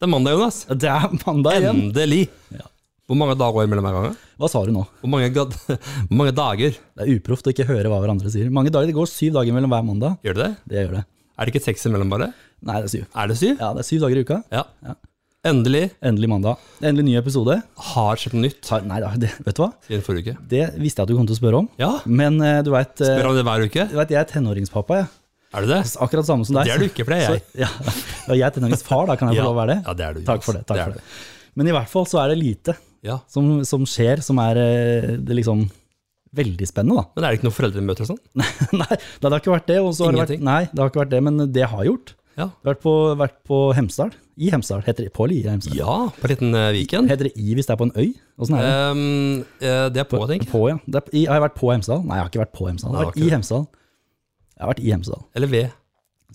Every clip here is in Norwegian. Det er mandag, Jonas. Det er mandag igjen. Endelig. Ja. Hvor mange dager mellom hver gang? da? Hva sa du nå? Hvor mange, gad- hvor mange dager Det er uproft å ikke høre hva hverandre sier. Mange dager, Det går syv dager mellom hver mandag. gjør du det? Det gjør det. Er det ikke seks imellom, bare? Nei, det er syv. Er det syv? Ja, det er syv dager i uka. Ja. Endelig Endelig mandag. Endelig ny episode. har skjedd noe nytt Ta- Nei, da, det, vet du hå? siden forrige uke. Det visste jeg at du kom til å spørre om. Ja, Men eh, du veit spør om det hver uke. jeg er tenåringspappa, jeg. Er det det? Så Akkurat samme som deg. Det er du ikke, for det er jeg. Så, ja, og jeg er tenåringsfar, da kan jeg få Ja. lov å være det? Ja, det er du, Takk for Jonas. det. takk Det er for det. Men i hvert fall så er det lite Ja. som, som skjer som er eh, det liksom veldig spennende, da. Men er det ikke noen foreldremøter og sånn? Nei, det har ikke vært det. Og så har det vært, Ingenting. nei, det har ikke vært det, men det har jeg gjort. Ja. Jeg har vært på, vært på Hemsedal. I Hemsedal, heter det. På eller i Hemsedal? ja, på en liten eh, Viken. Heter det i hvis det er på en øy? Åssen er det? Ehm, eh, det er på, tenk. På, ja. Det er, i, har jeg vært på Hemsedal? Nei, jeg har ikke vært på Hemsedal. Jeg har Nei, vært det var i Hemsedal. Jeg har vært i Hemsedal. Eller ved.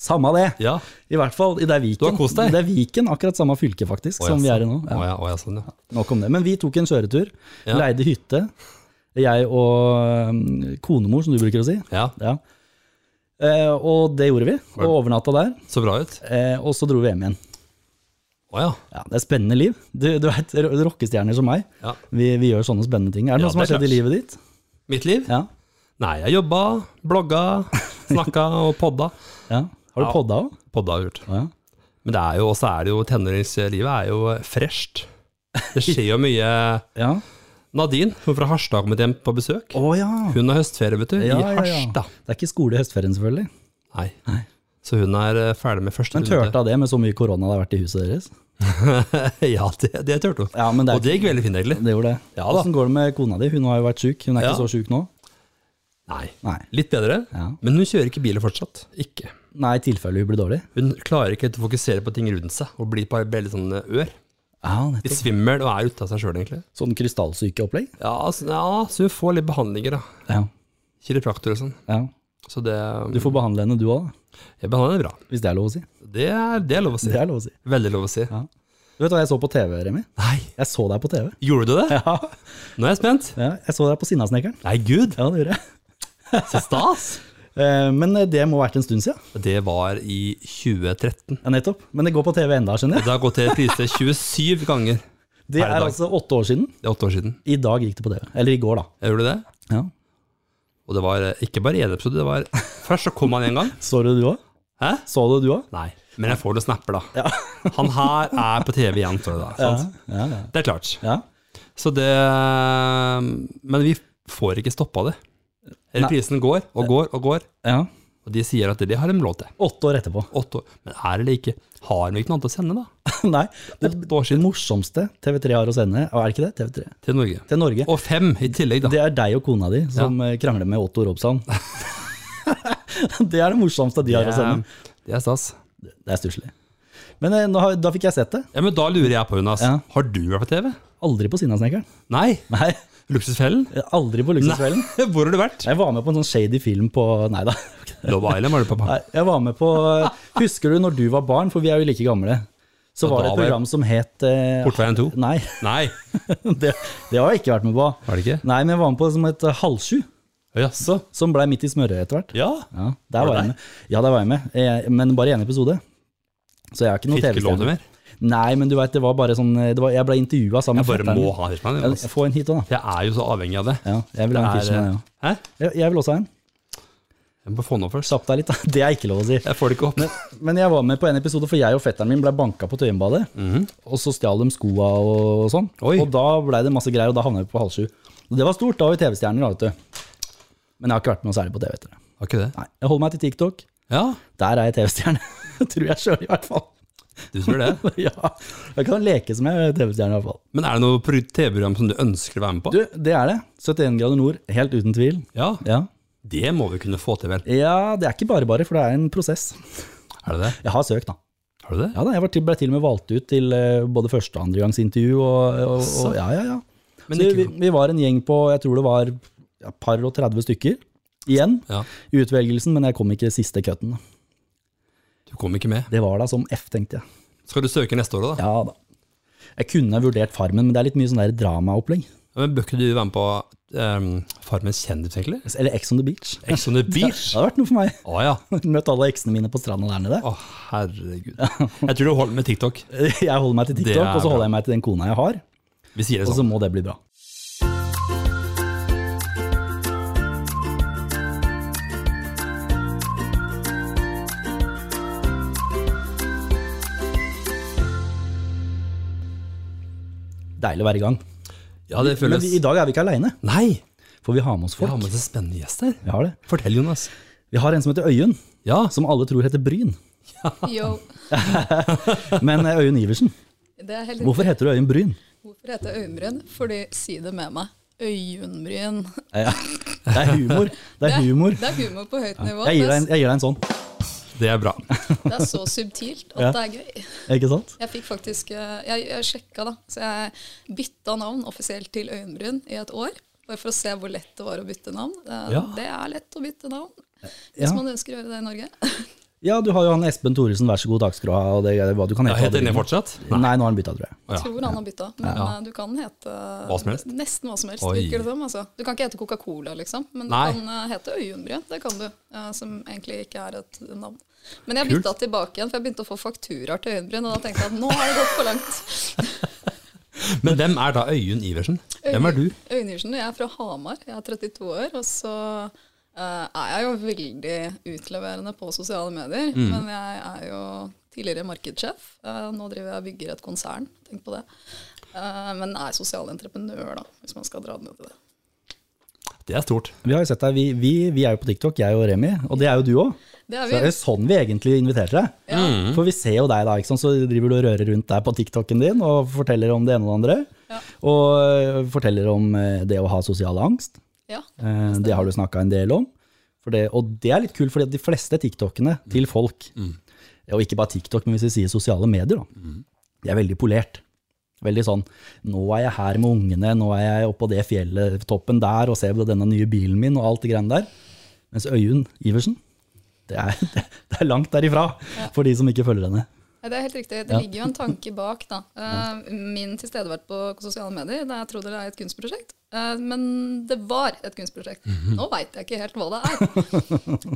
Samme det! Ja. I hvert fall, i det er Viken. Du har kost deg. Det er Viken, akkurat samme fylke faktisk, Å, ja, som vi er i nå. sånn. Ja, Å ja, å, ja, sånn, ja. nok om det. Men vi tok en kjøretur. Ja. Leide hytte. Jeg og øhm, konemor, som du bruker å si. ja. Ja. Eh, og det gjorde vi. Og overnatta der. Så bra ut. Eh, og så dro vi hjem igjen. Å ja. Ja, det er spennende liv. Du, du vet, ro- rockestjerner som meg, ja. vi, vi gjør sånne spennende ting. Er det Ja, noe som har det er skjedd i livet ditt? Mitt liv? Ja. Nei, jeg jobba, blogga, snakka og podda. ja. Har du Ja. podda òg? Podda har jeg gjort. Ja. Men det er jo, også er det jo tenåringslivet er jo fresht. Det skjer jo mye ja. Nadine, hun fra Harstad, har kommet hjem på besøk. Å ja. Hun har høstferie, vet du, Ja, i ja, ja. Harstad. Det er ikke skole i høstferien, selvfølgelig. Nei. Nei. Så hun er eh, ferdig med første Men tørte av det med så mye korona det har vært i huset deres? ja, det, det tørte hun. Ja, men det, Og er, det gikk veldig fint, egentlig. det gjorde det. Ja da. Hvordan går det med kona di? Hun har jo vært syk. Hun er Ja. ikke så syk nå? Nei. Nei. Litt bedre, Ja. men hun kjører ikke bilen fortsatt. Ikke. Nei, i tilfelle hun blir dårlig? Hun klarer ikke helt å fokusere på ting rundt seg, og blir bare veldig sånn eh, ør. Ja, Litt nettopp. svimmel og er ute av seg sjøl, egentlig. Sånn krystallsykeopplegg? Ja, altså, ja, så hun får litt behandlinger, da. Ja. Kiropraktor og sånn. ja. Så det Du får behandle henne du òg, Jeg behandler det bra. hvis det er lov å si. Det er, det er lov å si. Det er lov å si. Veldig lov å si. Du vet hva jeg så på TV, Remi? Nei, Jeg så deg på TV. gjorde du det? Ja. Nå er jeg spent. Ja, jeg så deg på Sinnasnekkeren. Nei, gud, Ja, det gjorde jeg. så stas! Eh, Men det må ha vært en stund siden. Det var i 2013. Ja, nettopp. Men det går på TV enda, skjønner jeg. Det har gått til priser 27 ganger. Det Per er dag. altså åtte år siden. Det er åtte år siden. I dag gikk det på TV. Eller i går, da. Jeg gjorde det. Ja. Og det var eh, ikke bare én episode. det var Først så kom han én gang. Så du det du òg? Hæ? Så du det du òg? Nei. Men jeg får noen snapper, da. Han her er på TV igjen, står det da. Sant? Ja, ja. Det er klart. ja. Så det eh, Men vi får ikke stoppa det. Reprisen går og går og går, ja. og de sier at det har de lov til. Åtte år etterpå. Åtte år. Men er det eller ikke? Har de ikke noe annet å sende, da? Nei, det Åtte år siden morsomste TV3 har å sende, er det ikke det? TV3. til Norge. Til Norge. Og fem i tillegg, da. Det er deg og kona di som eh, krangler med Otto Robsand. det er det morsomste de har å sende. Det, det er stas. Det er stusslig. Men eh, nå har, da fikk jeg sett det. Ja, men da lurer jeg på, Jonas. Ja. Har du vært på TV? Aldri på Sinnasnekkeren. Nei. Nei, Luksusfellen? aldri på Luksuskvelden. Hvor har du vært? Jeg var med på en sånn shady film på Nei da. Love Island var du på. Nei, Jeg var med på eh, Husker du når du var barn, for vi er jo like gamle, så Ja, var da var det et jeg- program som het eh, Portveien 2? Nei, Nei, det, det har jeg ikke vært med på. var det ikke? Nei, men jeg var med på som het Halvsju, Jaså? som blei midt i smørøyet etter hvert. Ja. Ja, der Var var, det jeg med. Ja, der var jeg med. Eh, Men bare i én episode. Så jeg har ikke noe Fikk ikke lov til TV-stjerne. mer. Nei, men du veit, det var bare sånn eh, det var, Jeg ble intervjua sammen Jeg med bare fetteren må min. ha Fishman. Ja, Få en hit òg, da. Jeg er jo så avhengig av det. Ja, jeg vil ha en Det er, eh, Fishman, jeg òg. Hæ? Jeg, jeg vil også ha en. Jeg må få den opp først. Slapp deg litt, da. Det er ikke lov å si. Jeg får det ikke opp. Men jeg var med på en episode, for jeg og fetteren min ble banka på Tøyenbadet. Og så stjal de skoa og, og sånn. Oi. Og da blei det masse greier, og da havna vi på halv sju. Og det var stort, da var vi TV-stjerner, da, vet du. Men jeg har ikke vært noe særlig på TV etter det. Har ikke det? Nei, Jeg holder meg til TikTok. Ja, Der er jeg TV-stjerne. Tror jeg sjøl, i hvert fall. du tror det. ja. Jeg kan leke som jeg er TV-stjerne, i hvert fall. Men er det noe pro- TV-program som du ønsker å være med på? Du, det er det. 71 grader nord, helt uten tvil. Ja, Ja. det må vi kunne få til, vel. ja, det er ikke bare bare, for det er en prosess. Er det det? Jeg har søkt, da. Har du det? Ja da, Jeg var til, ble til og med valgt ut til eh, både første og andre gangs intervju. Og, og, og, ja, ja, ja. Men Så ikke- vi, vi var en gjeng på jeg tror det var ja, par og 30 stykker igjen Ja. i utvelgelsen, men jeg kom ikke siste cutten. da. Du kom ikke med. Det var da som F, tenkte jeg. Skal du søke neste år, da? Ja da. Jeg kunne ha vurdert Farmen, men det er litt mye sånn der dramaopplegg. Men Bør ikke du være med på ehm, Farmen kjendis, egentlig? Eller Ex on the beach. Ex on the Det beach? hadde vært noe for meg. Å ja. Møtt alle eksene mine på stranda der nede. Å, herregud. Jeg tror du holder med TikTok. Jeg holder meg til Det TikTok, er og så bra. holder jeg meg til den kona jeg har. Vi sier det Og så sånn. må det bli bra. Deilig å være i gang. Ja, det Men føles vi, i dag er vi ikke aleine, Nei! for vi har med oss Vi har folk. med oss en spennende gjest her. Vi har, det. Fortell, Jonas. vi har en som heter Øyunn, Ja, som alle tror heter Bryn. Yo. Men eh, Øyunn Iversen, Det er helt hvorfor heter du Øyunn Bryn? Hvorfor heter jeg øyenbryn? Fordi si det med meg. Øyenbryn. Ja. Det er humor. Det er humor. Det er humor på høyt nivå. Jeg gir deg en, det, jeg gir deg en sånn, det er bra. er, det er så subtilt at Ja. det er gøy. ikke sant? Jeg fikk faktisk eh, Jeg, jeg sjekka, da. Så jeg bytta navn offisielt til Øyenbryn i et år. Bare for å se hvor lett det var å bytte navn. Det, Ja. det er lett å bytte navn. Hvis Ja. man ønsker å gjøre det i Norge. Ja, du har jo han Espen Thoresen, vær så god, takk skal du ha, og det er hva du kan Jeg hete. heter Linje fortsatt? Nei, nå har han bytta, tror jeg. Å, ja. Tror han har bytta. Men Ja. eh, du kan hete Hva som helst? nesten hva som helst. Oi. virker det som, altså. Du kan ikke hete Coca-Cola, liksom. Men Nei. du kan eh, hete Øyenbryn. Det kan du. eh, som egentlig ikke er et navn. Men jeg Kult. bytta tilbake igjen, for jeg begynte å få fakturaer til Øyenbryn. Og da tenkte jeg at nå har det gått for langt. Men hvem er da Øyunn Iversen? Hvem er du? Øyenirsen. Jeg er fra Hamar. Jeg er 32 år. Og så eh, er jeg jo veldig utleverende på sosiale medier. Men jeg er jo tidligere markedssjef. Eh, nå driver jeg og bygger et konsern. Tenk på det. Eh, men er sosial entreprenør, da, hvis man skal dra det ned til det. Det er stort. Vi har jo sett deg, vi, vi, vi er jo på TikTok, jeg og Remi, og det er jo du òg. Det er Så vi. det Mm. er jo sånn vi egentlig inviterer deg. Ja. For vi ser jo deg da, ikke sant? så driver du og rører rundt der på TikToken din og forteller om det ene og det andre. Ja. Og øh, forteller om øh, det å ha sosial angst. ja. Eh, Det har du snakka en del om. For det, og det er litt kult, fordi at de fleste TikTokene til folk, og ikke bare TikTok, men hvis vi sier sosiale medier, da, de er veldig polert. Veldig sånn Nå er jeg her med ungene, nå er jeg oppå det fjellet, toppen der, og ser på denne nye bilen min, og alt det greiene der. Mens Øyunn Iversen, det er, det, er langt derifra for de som ikke følger henne. Nei, Det er helt riktig. Det ligger jo en tanke bak. da. Eh, Min tilstedeværelse på sosiale medier det er, jeg tror det er et kunstprosjekt. Eh, Men det var et kunstprosjekt. Nå veit jeg ikke helt hva det er.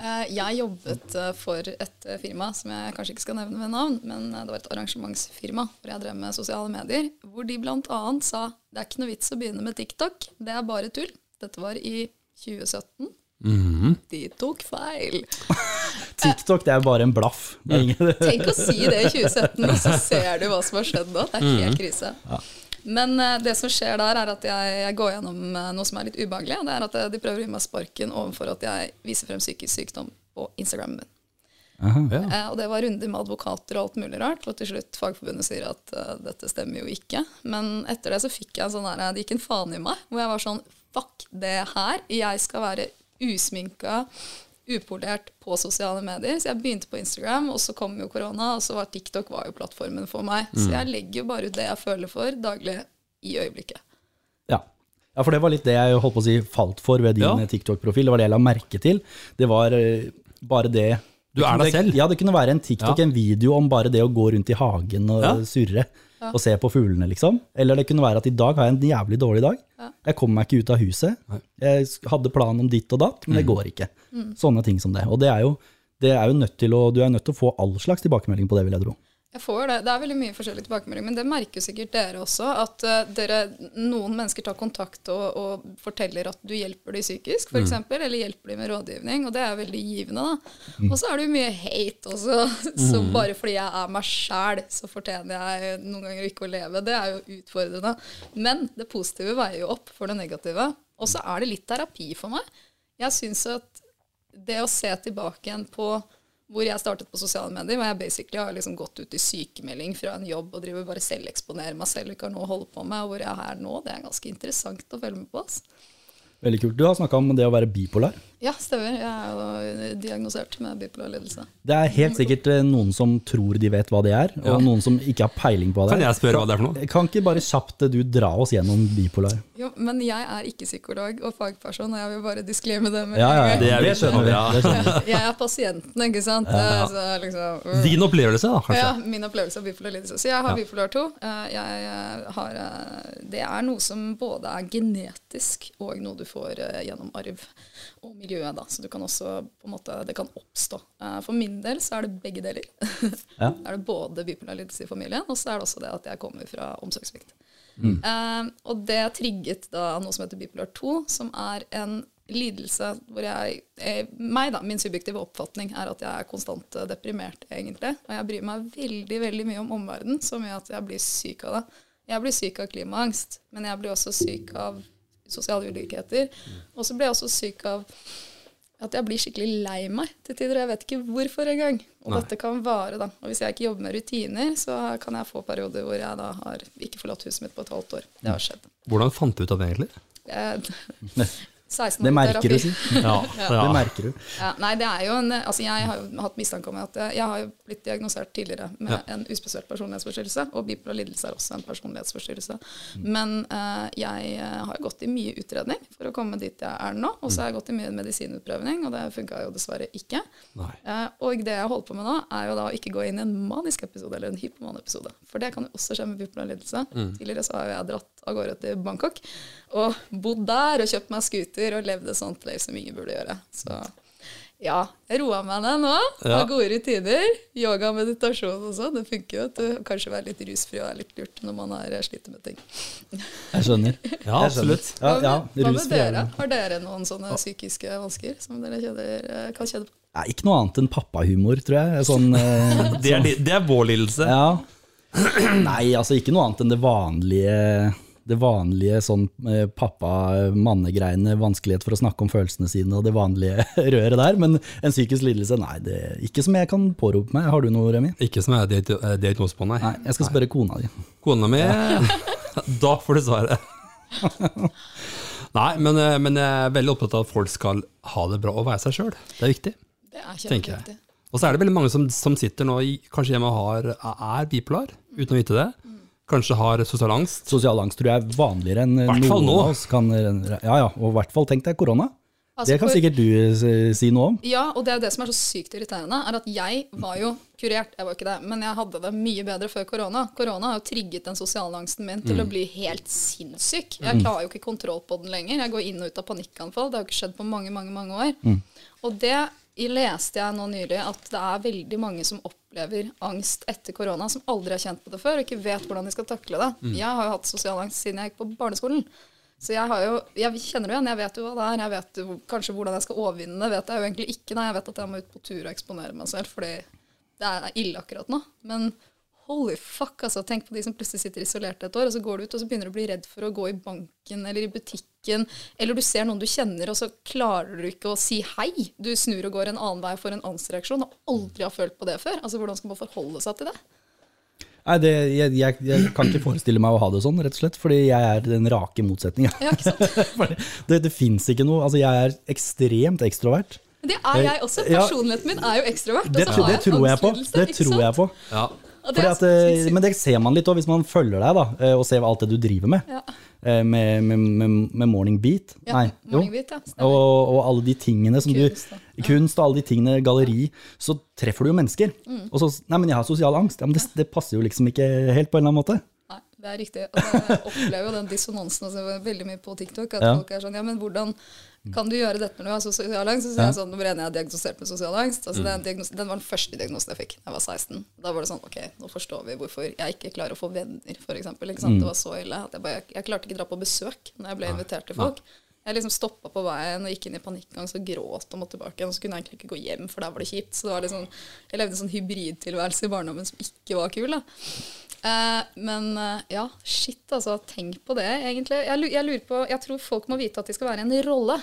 Eh, Jeg jobbet eh, for et eh, firma som jeg kanskje ikke skal nevne ved navn, men eh, det var et arrangementsfirma hvor jeg drev med sosiale medier, hvor de bl.a. sa det er ikke noe vits å begynne med TikTok, det er bare tull. Dette var i 2017. De tok feil. TikTok det er bare en blaff. Det er ingen, Tenk å si det i 2017, og så ser du hva som har skjedd da. Det er helt krise. Men eh, det som skjer der, er at jeg, jeg går gjennom eh, noe som er litt ubehagelig. og Det er at eh, de prøver å gi meg sparken overfor at jeg viser frem psykisk sykdom på Instagramen min. Ja. Eh, og det var runder med advokater og alt mulig rart. Og til slutt Fagforbundet sier at eh, dette stemmer jo ikke. Men etter det så fikk jeg en sånn der, det gikk en faen i meg, hvor jeg var sånn fuck det her. Jeg skal være usminka, upolert på sosiale medier. Så jeg begynte på Instagram, og så kom jo korona, og så var TikTok var jo plattformen for meg. Så jeg legger jo bare ut det jeg føler for daglig i øyeblikket. Ja. ja, for det var litt det jeg holdt på å si falt for ved din Ja. eh, TikTok-profil. Det var det jeg la merke til. Det var eh, bare det Du er deg selv. Ja, det kunne være en TikTok, Ja. en video om bare det å gå rundt i hagen og Ja. surre og se på fuglene, liksom. Eller det kunne være at i dag har jeg en jævlig dårlig dag. Jeg kommer meg ikke ut av huset. Jeg s- hadde plan om ditt og datt, men det Mm. går ikke. Sånne ting som det. Og det er jo, det er jo nødt til å, du er nødt til å få all slags tilbakemelding på det, vil jeg tro. Jeg får det. Det er veldig mye forskjellig tilbakemelding, men det merker jo sikkert dere også. At eh, dere, noen mennesker tar kontakt og, og forteller at du hjelper dem psykisk, f.eks., eksempel, eller hjelper dem med rådgivning, og det er veldig givende. da. Og så er det jo mye hate også. Så bare fordi jeg er meg sjæl, så fortjener jeg noen ganger ikke å leve. Det er jo utfordrende. Men det positive veier jo opp for det negative. Og så er det litt terapi for meg. Jeg syns at det å se tilbake igjen på hvor jeg startet på sosiale medier, hvor jeg basically har liksom gått ut i sykemelding fra en jobb og driver bare selveksponerer meg selv og ikke har noe å holde på med, og hvor jeg er nå, det er ganske interessant å følge med på. ass. Veldig kult. Du har snakka om det å være bipolar. Ja, stemmer. Jeg er jo diagnosert med bipolar lidelse. Det er helt sikkert eh, noen som tror de vet hva det er, og noen som ikke har peiling på hva Kan det er. jeg spørre hva det er for noe? Kan ikke bare kjapt eh, du dra oss gjennom bipolar? Jo, men jeg er ikke psykolog og fagperson, og jeg vil bare disclaime det. Med Ja, ja, en gang. Det er vi skjønner vi. Ja. Det skjønner vi. Jeg er pasienten, ikke sant. Eh, Så liksom, mm. Din opplevelse, da, kanskje? Ja, min opplevelse av bipolar lidelse. Så jeg har bipolar 2. Eh, Jeg eh, har, eh, det er noe som både er genetisk og noe du får eh, gjennom arv og miljøet. Da. Så du kan også, på en måte, det kan oppstå. Eh, For min del så er det begge deler. Ja. Da er det både bipolar lidelse i familien, og så er det også det at jeg kommer fra omsorgssvikt. Eh, og det trigget da noe som heter bipolar 2, som er en lidelse hvor jeg eh, meg da, Min subjektive oppfatning er at jeg er konstant eh, deprimert, egentlig. Og jeg bryr meg veldig veldig mye om omverdenen, så mye at jeg blir syk av det. Jeg blir syk av klimaangst, men jeg blir også syk av sosiale ulikheter. Og så blir jeg også syk av at jeg blir skikkelig lei meg til tider. og Jeg vet ikke hvorfor engang. Og dette kan vare, da. Og hvis jeg ikke jobber med rutiner, så kan jeg få perioder hvor jeg da har ikke forlatt huset mitt på et halvt år. Det har skjedd. Hvordan fant du ut av det, egentlig? Eh, 16 år Det i merker du, terapi. si. Ja, Det ja. merker du. Ja, nei, det er jo en Altså, jeg har jo hatt mistanke om at jeg, jeg har jo blitt diagnosert tidligere med en uspesielt personlighetsforstyrrelse, og bipolar lidelse er også en personlighetsforstyrrelse. Mm. Men eh, jeg eh, har gått i mye utredning for å komme dit jeg er nå, og så har jeg gått i mye medisinutprøvning, og det funka jo dessverre ikke. Nei. Eh, og det jeg holder på med nå, er jo da å ikke gå inn i en manisk episode eller en hypoman-episode. For det kan jo også skje med bipolar lidelse. Mm. Tidligere så har jo jeg dratt av gårde til Bangkok og bodd der og kjøpt meg scooter og levd et sånt liv som ingen burde gjøre. Så ja, jeg roa meg ned nå. Ja. Har gode rutiner. Yoga og meditasjon og sånn. Det funker jo. at du Kanskje være litt rusfri og er litt lurt når man er eh, sliter med ting. Jeg skjønner. ja Jeg skjønner. absolutt. Ja, ja, Hva med- Hva med rusfri er dere? det. Har dere noen sånne psykiske vansker som dere kjenner, eh, kan kjenne på? Nei, ikke noe annet enn pappahumor, tror jeg. Sånn, eh, Det er, li- det er vår lidelse. ja. Nei, altså ikke noe annet enn det vanlige, det vanlige sånn eh, pappa-mannegreiene, vanskelighet for å snakke om følelsene sine og det vanlige røret der. Men en psykisk lidelse, nei, det, ikke som jeg kan pårope meg. Har du noe, Remi? Ikke som jeg har diagno- eh, diagnose på, nei. Nei, jeg skal spørre kona di. Kona mi Da får du svaret. Nei, men, eh, men jeg er veldig opptatt av at folk skal ha det bra og være seg sjøl. Det er viktig, Det er tenker kjempeviktig. jeg. Og så er det veldig mange som, som sitter nå i, kanskje hjemme og har, er bipolar, uten å vite det. Mm. Kanskje har sosial angst. Sosial angst tror jeg er vanligere enn Hvert fall noen nå. av oss kan eh, Ja ja, og i hvert fall tenk deg korona. Altså, Det kan for- sikkert du eh, si noe om. Ja, og det er jo det som er så sykt irriterende, er at jeg var jo kurert, jeg var ikke det, men jeg hadde det mye bedre før korona. Korona har jo trigget den sosiale angsten min til å bli helt sinnssyk. Jeg klarer jo ikke kontroll på den lenger. Jeg går inn og ut av panikkanfall. Det har jo ikke skjedd på mange, mange, mange år. Og det i- leste jeg nå nylig at det er veldig mange som opplever angst etter korona, som aldri har kjent på det før og ikke vet hvordan de skal takle det. Jeg har jo hatt sosial angst siden jeg gikk på barneskolen. Så jeg, har jo, jeg kjenner det igjen, jeg vet jo hva det er. Jeg vet jo kanskje hvordan jeg skal overvinne det. vet jeg jo egentlig ikke. Nei, jeg vet at jeg må ut på tur og eksponere meg selv, fordi det er ille akkurat nå. Men holy fuck, altså. Tenk på de som plutselig sitter isolert et år, og så går du ut, og så begynner du å bli redd for å gå i banken eller i butikken, eller du ser noen du kjenner, og så klarer du ikke å si hei. Du snur og går en annen vei for en angstreaksjon, og aldri har følt på det før. Altså, hvordan skal man forholde seg til det? Nei, det, jeg, jeg, jeg kan ikke forestille meg å ha det sånn, rett og slett, fordi jeg er den rake motsetninga. Ja, ikke sant? Det, det fins ikke noe Altså, jeg er ekstremt ekstrovert. Men Det er jeg også. Eh, Ja. Personligheten min er jo ekstrovert. og Det, så tr- har det en tror jeg på. angstlidelse, Det ikke tror sant? jeg på. Ja. Og det Fordi er at, altså- så eh, sinnssykt. men det ser man litt òg, hvis man følger deg da, eh, og ser alt det du driver med. Ja. Eh, Med, med, med, med Morning Beat. Ja, Nei, jo. Morning Beat, ja, stemmer. Og, og alle de tingene som Kunst, da. du Kunst og alle de tingene, galleri. Så treffer du jo mennesker. Mm. Og så Nei, men jeg har sosial angst. Ja, men det, det passer jo liksom ikke helt på en eller annen måte. Nei, det er riktig. Og jeg opplever jo den dissonansen altså, veldig mye på TikTok. At Ja. folk er sånn Ja, men hvordan kan du gjøre dette når du har sosial angst? Så sier jeg sånn Nummer én, jeg er diagnosert med sosial angst. Altså, det Mm. er en diagnos den var den første diagnosen jeg fikk da jeg var 16. Da var det sånn Ok, nå forstår vi hvorfor jeg ikke klarer å få venner, f.eks. Mm. Det var så ille at jeg bare Jeg, jeg klarte ikke dra på besøk når jeg ble invitert til folk. Jeg liksom stoppa på veien og gikk inn i panikkangst og gråt og måtte tilbake. igjen, Og så kunne jeg egentlig ikke gå hjem, for der var det kjipt. Så det var liksom, jeg levde en sånn hybridtilværelse i barndommen som ikke var kul. da. Eh, men eh, ja, shit, altså. Tenk på det, egentlig. Jeg, lu- jeg lurer på Jeg tror folk må vite at de skal være i en rolle.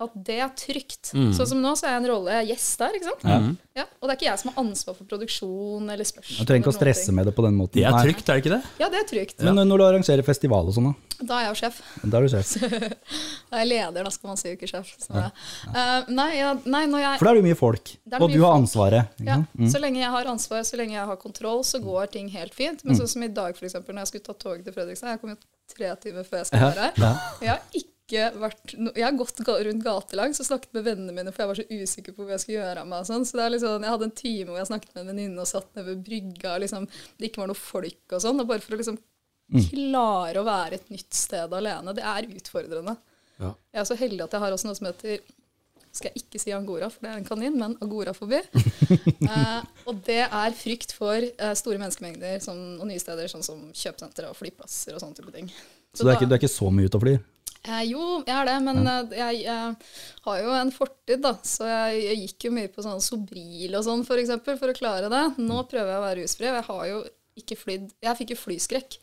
at det er trygt. Sånn som nå, så er jeg en rolle gjest der, ikke sant? Ja, og det er ikke jeg som har ansvar for produksjon eller spørsmål. Du trenger ikke å eller noen stresse med det på den måten. Det er Nei. trygt, er det ikke det? ting. Ja, det er trygt. Men eh, når du arrangerer festival og sånn, da? Da er jeg jo sjef. Da er du sjef. Da er jeg leder, da skal man si jo ikke sjef. Så, Eh, nei, ja, nei, når jeg For da er det jo mye folk, Det er og mye du har folk. ansvaret. ikke Ja, sant? Så lenge jeg har ansvar, så lenge jeg har kontroll, så går ting helt fint. Mm. Men sånn som i dag, for eksempel, når jeg skulle ta toget til Fredrikstad Jeg kom jo tre timer før jeg skal være her. Ja. Jeg har ikke vært no Jeg har gått ga rundt gatelangs og snakket med vennene mine, for jeg var så usikker på hva jeg skulle gjøre av meg. og Sånn. Så det er liksom, Jeg hadde en time hvor jeg snakket med en venninne og satt nede ved brygga, og liksom, det ikke var noe folk og sånn. Og bare for å liksom Mm. klare å være et nytt sted alene. Det er utfordrende. Ja. Jeg er så heldig at jeg har også noe som heter skal jeg ikke si angora, for det er en kanin, men agorafobi. eh, og det er frykt for eh, store menneskemengder som, og nye steder, sånn som kjøpesentre og flyplasser og sånne type ting. Så du er, da- ikke, du er ikke så mye ute og flyr? Eh, jo, jeg er det, men eh, jeg eh, har jo en fortid, da. Så jeg, jeg gikk jo mye på sånn Sobril og sånn, for eksempel, for å klare det. Mm. Nå prøver jeg å være rusfri. og Jeg har jo ikke flydd Jeg fikk jo flyskrekk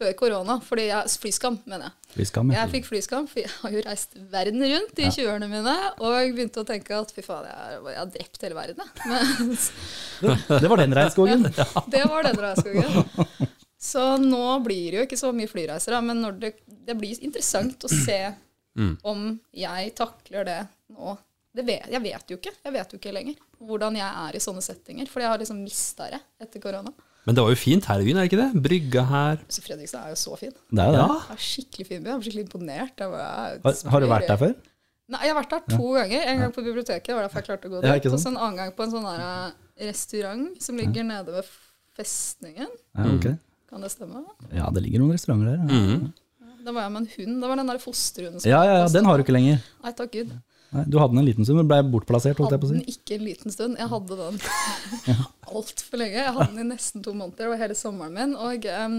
før korona. Fordi jeg Flyskam, mener jeg. Vi skal med. Jeg fikk flyskam, for jeg har jo reist verden rundt i 20-årene mine, og begynte å tenke at fy faen, jeg, er- jeg har drept hele verden, jeg. Men Det var den regnskogen. det var den regnskogen. Så nå blir det jo ikke så mye flyreiser, da, men når det, det blir interessant å se Mm. om jeg takler det nå. Det vet, jeg vet jo ikke. Jeg vet jo ikke lenger hvordan jeg er i sånne settinger. For jeg har liksom mista det etter korona. Men det var jo fint her i byen, er det ikke det? Brygga her. Så Fredrikstad er jo så fin. Det er jo det. Ja. Det er skikkelig fin by. Jeg er skikkelig imponert. Jeg var- jeg er Har, har du vært der før? Nei, jeg har vært der to ganger. En gang på biblioteket, det var derfor jeg klarte å gå Ja, dit. ikke og så sant? en annen gang på en sånn der eh, restaurant som ligger nede ved festningen. Ja, ok. Kan det stemme? ja, det ligger noen restauranter der. Ja. Da var jeg med en hund. Da var den der fosterhunden Ja, ja, ja, den har du ikke lenger. Nei, takk Gud. Nei, du hadde den en liten stund, men ble bortplassert, holdt Hadde jeg på å si. den ikke en liten stund. Jeg hadde den altfor lenge. Jeg hadde den i nesten to måneder, det var hele sommeren min. Og em,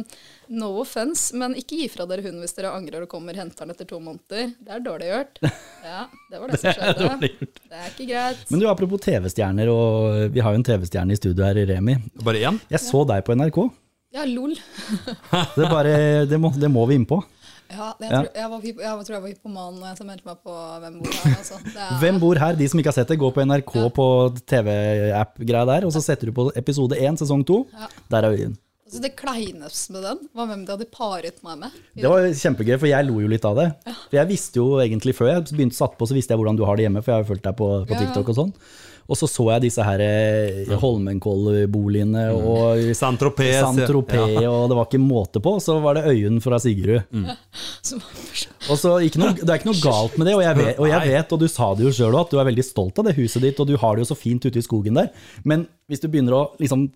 no offense, men ikke gi fra dere hunden hvis dere angrer og kommer og henter den etter to måneder. Det er dårlig gjort. Ja, det var det som skjedde. Det er ikke greit. Men du, apropos TV-stjerner, og vi har jo en TV-stjerne i studio her i Remi. Bare én? Jeg så deg på NRK. Ja, lol. Det, er bare, det, må, det må vi inn på. Ja, jeg, Ja. Tror, jeg, var, hypo- jeg tror jeg var hypoman da jeg meldte meg på Hvem bor her? Altså. Det er, Hvem bor her? De som ikke har sett det, gå på NRK på TV-app-greia der, og så setter du på episode 1, sesong 2. Ja. Der er vi inn. altså, det kleineste med den var hvem de hadde paret meg med. Det var kjempegøy, for jeg lo jo litt av det. For jeg visste jo egentlig Før jeg begynte satt på, så visste jeg hvordan du har det hjemme, for jeg har jo fulgt deg på, på Ja, ja. TikTok og sånn. Og så så jeg disse her eh, Holmenkollboligene og Saint-Tropez, ja. Saint-Tropez, og det var ikke måte på. Og så var det Øyunn fra Sigrud. Som var Og så ikke noe, Det er ikke noe galt med det, og jeg vet, og, jeg vet, og du sa det jo sjøl òg, at du er veldig stolt av det huset ditt, og du har det jo så fint ute i skogen der. Men hvis du begynner å liksom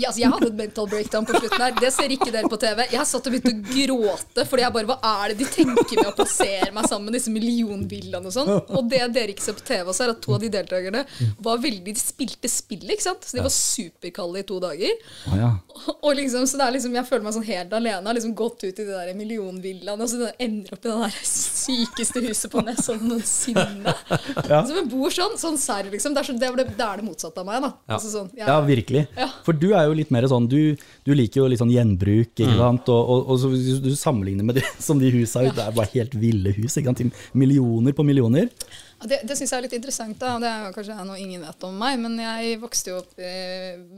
Ja, altså, jeg hadde et mental breakdown på slutten her. Det ser ikke dere på TV. Jeg satt og begynte å gråte fordi jeg bare Hva er det de tenker med å plassere meg sammen med disse millionvillaene og sånn? Og det dere ikke ser på TV også, er at to av de deltakerne var veldig De spilte spillet, ikke sant? Så de var superkalde i to dager. Å ja. Og liksom, så det er liksom, Jeg føler meg sånn helt alene. Har liksom gått ut i de der millionvillaene og så det ender opp i det der sykeste huset på Nes sånn noensinne. Så vi bor sånn. Sånn serr, liksom. Det er, så, det, er det, det er det motsatte av meg. da. Ja. Altså sånn, jeg- Ja, virkelig. Ja. For du er jo litt mer sånn Du, du liker jo litt sånn gjenbruk, Mm. ikke sant. Og, og, og så hvis du sammenligner med det som de husa ute. Det er bare helt ville hus. ikke sant? Til Millioner på millioner. Ja, Det, det syns jeg er litt interessant. da, og Det er jo kanskje noe ingen vet om meg, men jeg vokste jo opp i,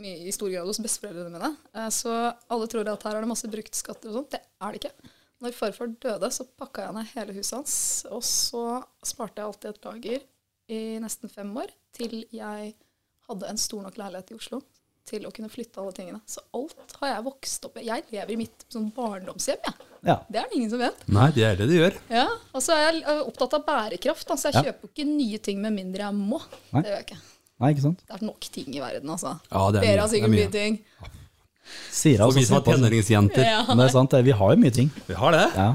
mye- i stor grad hos besteforeldrene mine. eh, Så alle tror at her er det masse bruktskatter og sånt. Det er det ikke. Når farfar døde, så pakka jeg ned hele huset hans. Og så sparte jeg alltid et lager i nesten fem år til jeg hadde en stor nok leilighet i Oslo til å kunne flytte alle tingene. Så alt har jeg vokst opp med. Jeg lever i mitt sånn barndomshjem, jeg. Ja. Det er det ingen som vet. Nei, det er det de gjør. Ja, og så er jeg eh, opptatt av bærekraft. Da, så jeg Ja. kjøper jo ikke nye ting med mindre jeg må. Nei. Det gjør jeg ikke. Nei, ikke sant. Det er nok ting i verden, altså. Ja, det er mye, Dere har det er sikkert mye mye. ting. Sira Og vi som er tenåringsjenter. Ja. Men det er sant, det. vi har jo mye ting. Vi har det. Ja.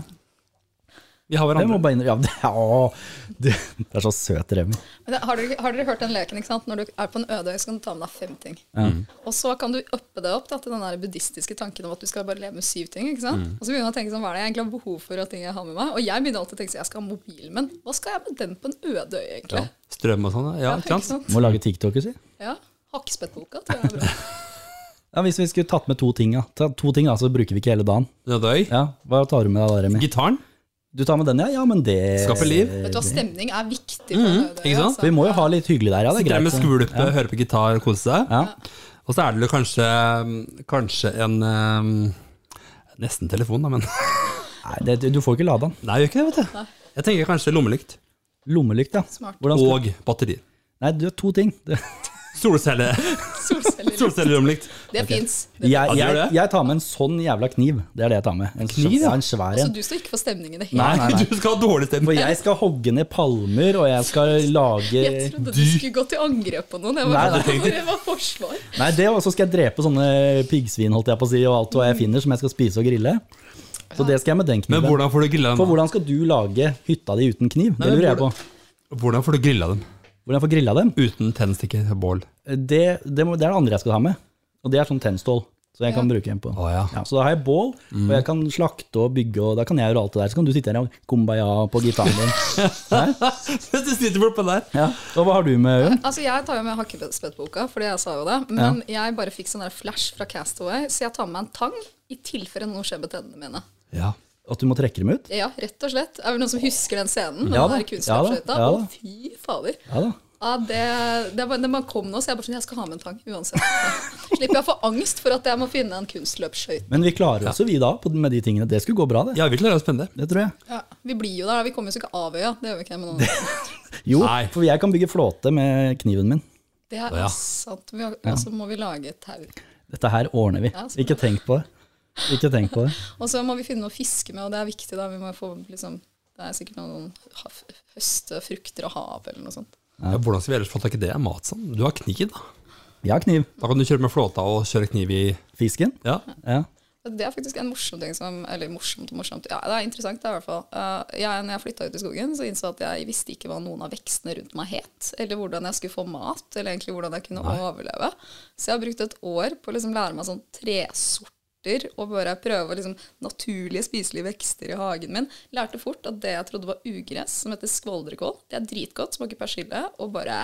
Vi har Det må hverandre. bare innrømme. Ja, det, å, du, det er så søt, Remi. Men det, har, dere, har dere hørt den leken? ikke sant? Når du er på en øde øy, så kan du ta med deg fem ting. Mm. Og så kan du uppe det opp da, til den der buddhistiske tanken om at du skal bare leve med syv ting. ikke Mm. sant? Og så begynner man å tenke sånn, hva er det jeg egentlig har behov for av ting jeg har med meg? Og jeg begynner alltid å tenke sånn, jeg skal ha mobilen min. Hva skal jeg med den på en øde øy, egentlig? Ja. Strøm og sånn, ja. Ja, Ikke sant? Må lage TikToker, si. Ja. Hakkespettboka tror jeg er bra. Ja, hvis vi skulle tatt med to ting, ja. Ta, to ting da, så bruker vi ikke hele dagen. Nødøy. Ja, Hva tar du med deg da, Remi? Gitaren. Du tar med den, ja? Ja, men det Skape liv. Vet du hva, stemning er viktig. på en øde, Mm, altså. ikke sant? Vi må jo ha litt hyggelig der, ja. Det er Sitter der greit. med skvulpe, hører på gitar og kose seg. Ja. Og så er det jo kanskje, kanskje en eh, Nesten telefon, da, men Nei, det, du får ikke lade den. Nei, jeg gjør ikke det, vet du. Jeg tenker kanskje lommelykt Lommelykt, ja. Smart. Hvordan skal... og batteri. Nei, du har to ting. Det- Solcelle. Solceller. Solcellelommelykt. Det fins. Det- Jeg, du gjør jeg, det? jeg tar med en sånn jævla kniv. Det er det jeg tar med. En Kniv, ja? En svær Altså, en. du står ikke for stemning i det Nei, hele nei, nei. Du skal ha dårlig For stemme. jeg skal hogge ned palmer, og jeg skal lage Jeg trodde du skulle gå til angrep på noen. Jeg Nei, var, nei. det var forsvar. Nei, det Og så skal jeg drepe sånne piggsvin, holdt jeg på å si, og alt Mm. hva jeg finner som jeg skal spise og grille. Så det skal jeg med den Men kniven. hvordan får du grilla For dem? hvordan skal du lage hytta di uten kniv? Det men lurer jeg på. Hvordan får du grilla dem Hvordan får grilla dem? uten tennstikker og bål? Det, det, må, det er det andre jeg skal ha med. Og det er sånn tennstål. Så jeg kan bruke en på. Å, ja. så da har jeg bål, og jeg kan slakte og bygge, og da kan jeg gjøre alt det der. Så kan du sitte her og kumbaya på gitaren din. du sitter bort på der. Ja. Og hva har du med Øyunn? Altså, Jeg tar jo med hakkespettboka, fordi jeg sa jo det. Men jeg bare fikk sånn der flash fra Castaway, så jeg tar med meg en tang i tilfelle noe skjer med tennene mine. Ja. At du må trekke dem ut? Ja, rett og slett. Er det noen som husker den scenen? Ja da, Ja, den ja der da, kunstnerskøyta? ja da. Å, fy fader. Ja da. Ja, det, det, var, det man kom nå, så jeg bare sånn Jeg skal ha med en tang uansett. Slipper jeg å få angst for at jeg må finne en kunstløpsskøyte. Men vi klarer oss jo vi da på, med de tingene. Det skulle gå bra, det. ja, vi klarer å spenne det. Det tror jeg. Ja, vi blir jo der, da. Vi kommer jo ikke av øya. Det gjør vi ikke med noen andre. Jo, Nei. for jeg kan bygge flåte med kniven min. Det er Ja. sant. Vi har, og så må vi lage et tau. Dette her ordner vi. Ja, så bra. Ikke tenk på det. Ikke tenk på det. Og så må vi finne noe å fiske med, og det er viktig. da. Vi må få liksom Det er sikkert noen hav- høstefrukter og hav eller noe sånt. Ja, hvordan skal vi ellers få tak i det? Mat sånn? Du har kniv, da. Vi har kniv. Da kan du kjøre med flåta og kjøre kniv i Fisken. Ja. Ja. Det er faktisk en morsom ting som Eller morsomt og morsomt. Ja, det er interessant, det er i hvert fall. Eh, jeg, når jeg flytta ut i skogen, så innså jeg at jeg visste ikke hva noen av vekstene rundt meg het, eller hvordan jeg skulle få mat, eller egentlig hvordan jeg kunne overleve. Så jeg har brukt et år på å liksom lære meg sånn tresorter og bare prøve å liksom naturlige spiselige vekster i hagen min. Lærte fort at det jeg trodde var ugress, som heter skvoldrekål, det er dritgodt, smaker persille, og bare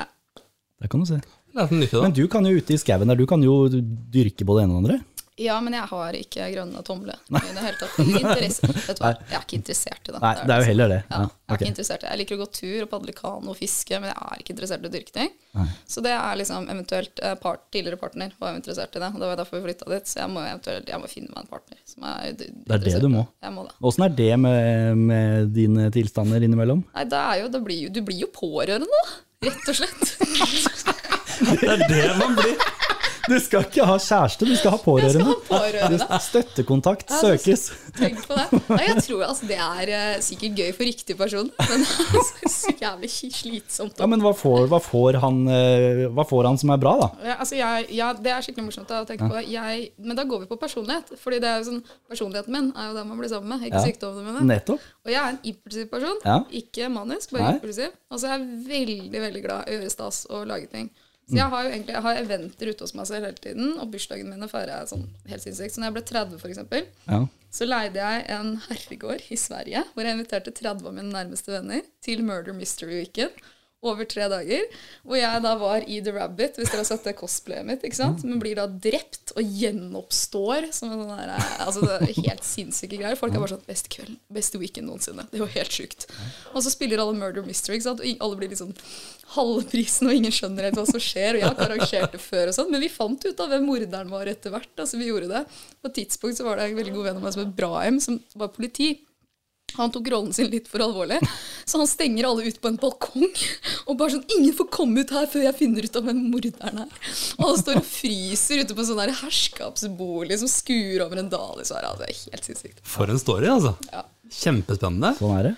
Det kan du se. Lærte noe nytt i dag. Men du kan jo ute i skauen der, du kan jo dyrke både det ene og det andre. Ja, men jeg har ikke grønne tomler i det hele tatt. Interesse. Vet du hva, jeg er ikke interessert i det. Nei, Det er det er jo heller det. Ja, Ja, jeg er ok. ikke interessert. i det. Jeg liker å gå tur og padle kano og fiske, men jeg er ikke interessert i dyrking. Så det er liksom eventuelt eh, part, Tidligere partner var jo interessert i det, og det var derfor vi flytta dit. Så jeg må eventuelt jeg må finne meg en partner som er d- Det er det du interessert i må. Jeg må det. Åssen er det med, med dine tilstander innimellom? Nei, det er jo, det blir jo, du blir jo pårørende, da. Rett og slett. Det er det man blir. Du skal ikke ha kjæreste, du skal ha Jeg skal pårørende. ha pårørende. Støttekontakt Ja, det- søkes. Tenk på det. Nei, jeg tror altså, Det er eh, sikkert gøy for riktig person, men altså, det er så jævlig slitsomt. Ja, men hva får, hva får, han, eh, hva får han som er bra, da? Ja, altså jeg, ja, det er skikkelig morsomt da, å tenke på. Jeg, men da går vi på personlighet. Fordi det er jo sånn, personligheten min er jo den man blir sammen med, ikke Ja. sykdommene mine. Nettopp. Og jeg er en impulsiv person. Ja. Ikke manisk, bare Nei. impulsiv. Og så er jeg veldig veldig glad i å gjøre stas og lage ting. Så Mm. jeg har jo egentlig jeg har eventer ute hos meg selv hele tiden, og bursdagen min feirer jeg sånn helt sinnssykt. Så når jeg ble 30, for eksempel, Ja. så leide jeg en herregård i Sverige, hvor jeg inviterte 30 av mine nærmeste venner til Murder Mystery Weekend over tre dager. Hvor jeg da var i The Rabbit, hvis dere har sett det cosplayet mitt. ikke sant? Men blir da drept og gjenoppstår som en sånn der, eh, altså det er helt sinnssyke greier. Folk er bare sånn Beste kvelden, beste weekend noensinne. Det var helt sjukt. Og så spiller alle Murder Mystery, ikke sant? og ing- alle blir liksom halvprisen, og ingen skjønner helt hva som skjer. Og jeg har ikke arrangert det før, og sånn, men vi fant ut av hvem morderen var etter hvert. altså vi gjorde det. På et tidspunkt så var det en veldig god venn av meg som het Brahim, som var politi. Han tok rollen sin litt for alvorlig, så han stenger alle ut på en balkong. Og bare sånn 'Ingen får komme ut her før jeg finner ut av hvem morderen er.' Og alle står og fryser ute på en sånn der herskapsbolig som skuer over en dal i Sahara. Det er helt sinnssykt. For en story, altså. Ja. Kjempespennende. Sånn er det.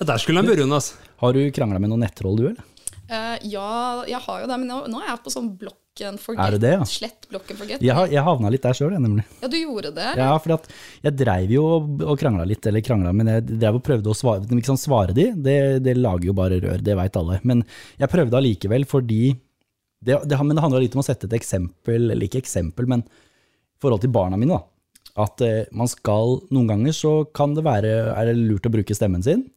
Ja, der skulle han begynne, altså. Har du krangla med noen nettroll, du, eller? Eh, ja, jeg har jo det, men nå, nå er jeg på sånn block and forget. Er det det, ja? Slett block and forget. Jeg, har- jeg havna litt der sjøl, nemlig. Ja, du gjorde det? Ja, for at jeg dreiv jo og og krangla litt, eller krangla, men jeg dreiv og prøvde å svare, ikke sant, svare de. Det, det lager jo bare rør, det veit alle. Men jeg prøvde allikevel fordi det, det, Men det handla litt om å sette et eksempel, eller ikke eksempel, men i forhold til barna mine, da. At eh, man skal Noen ganger så kan det være er det lurt å bruke stemmen sin.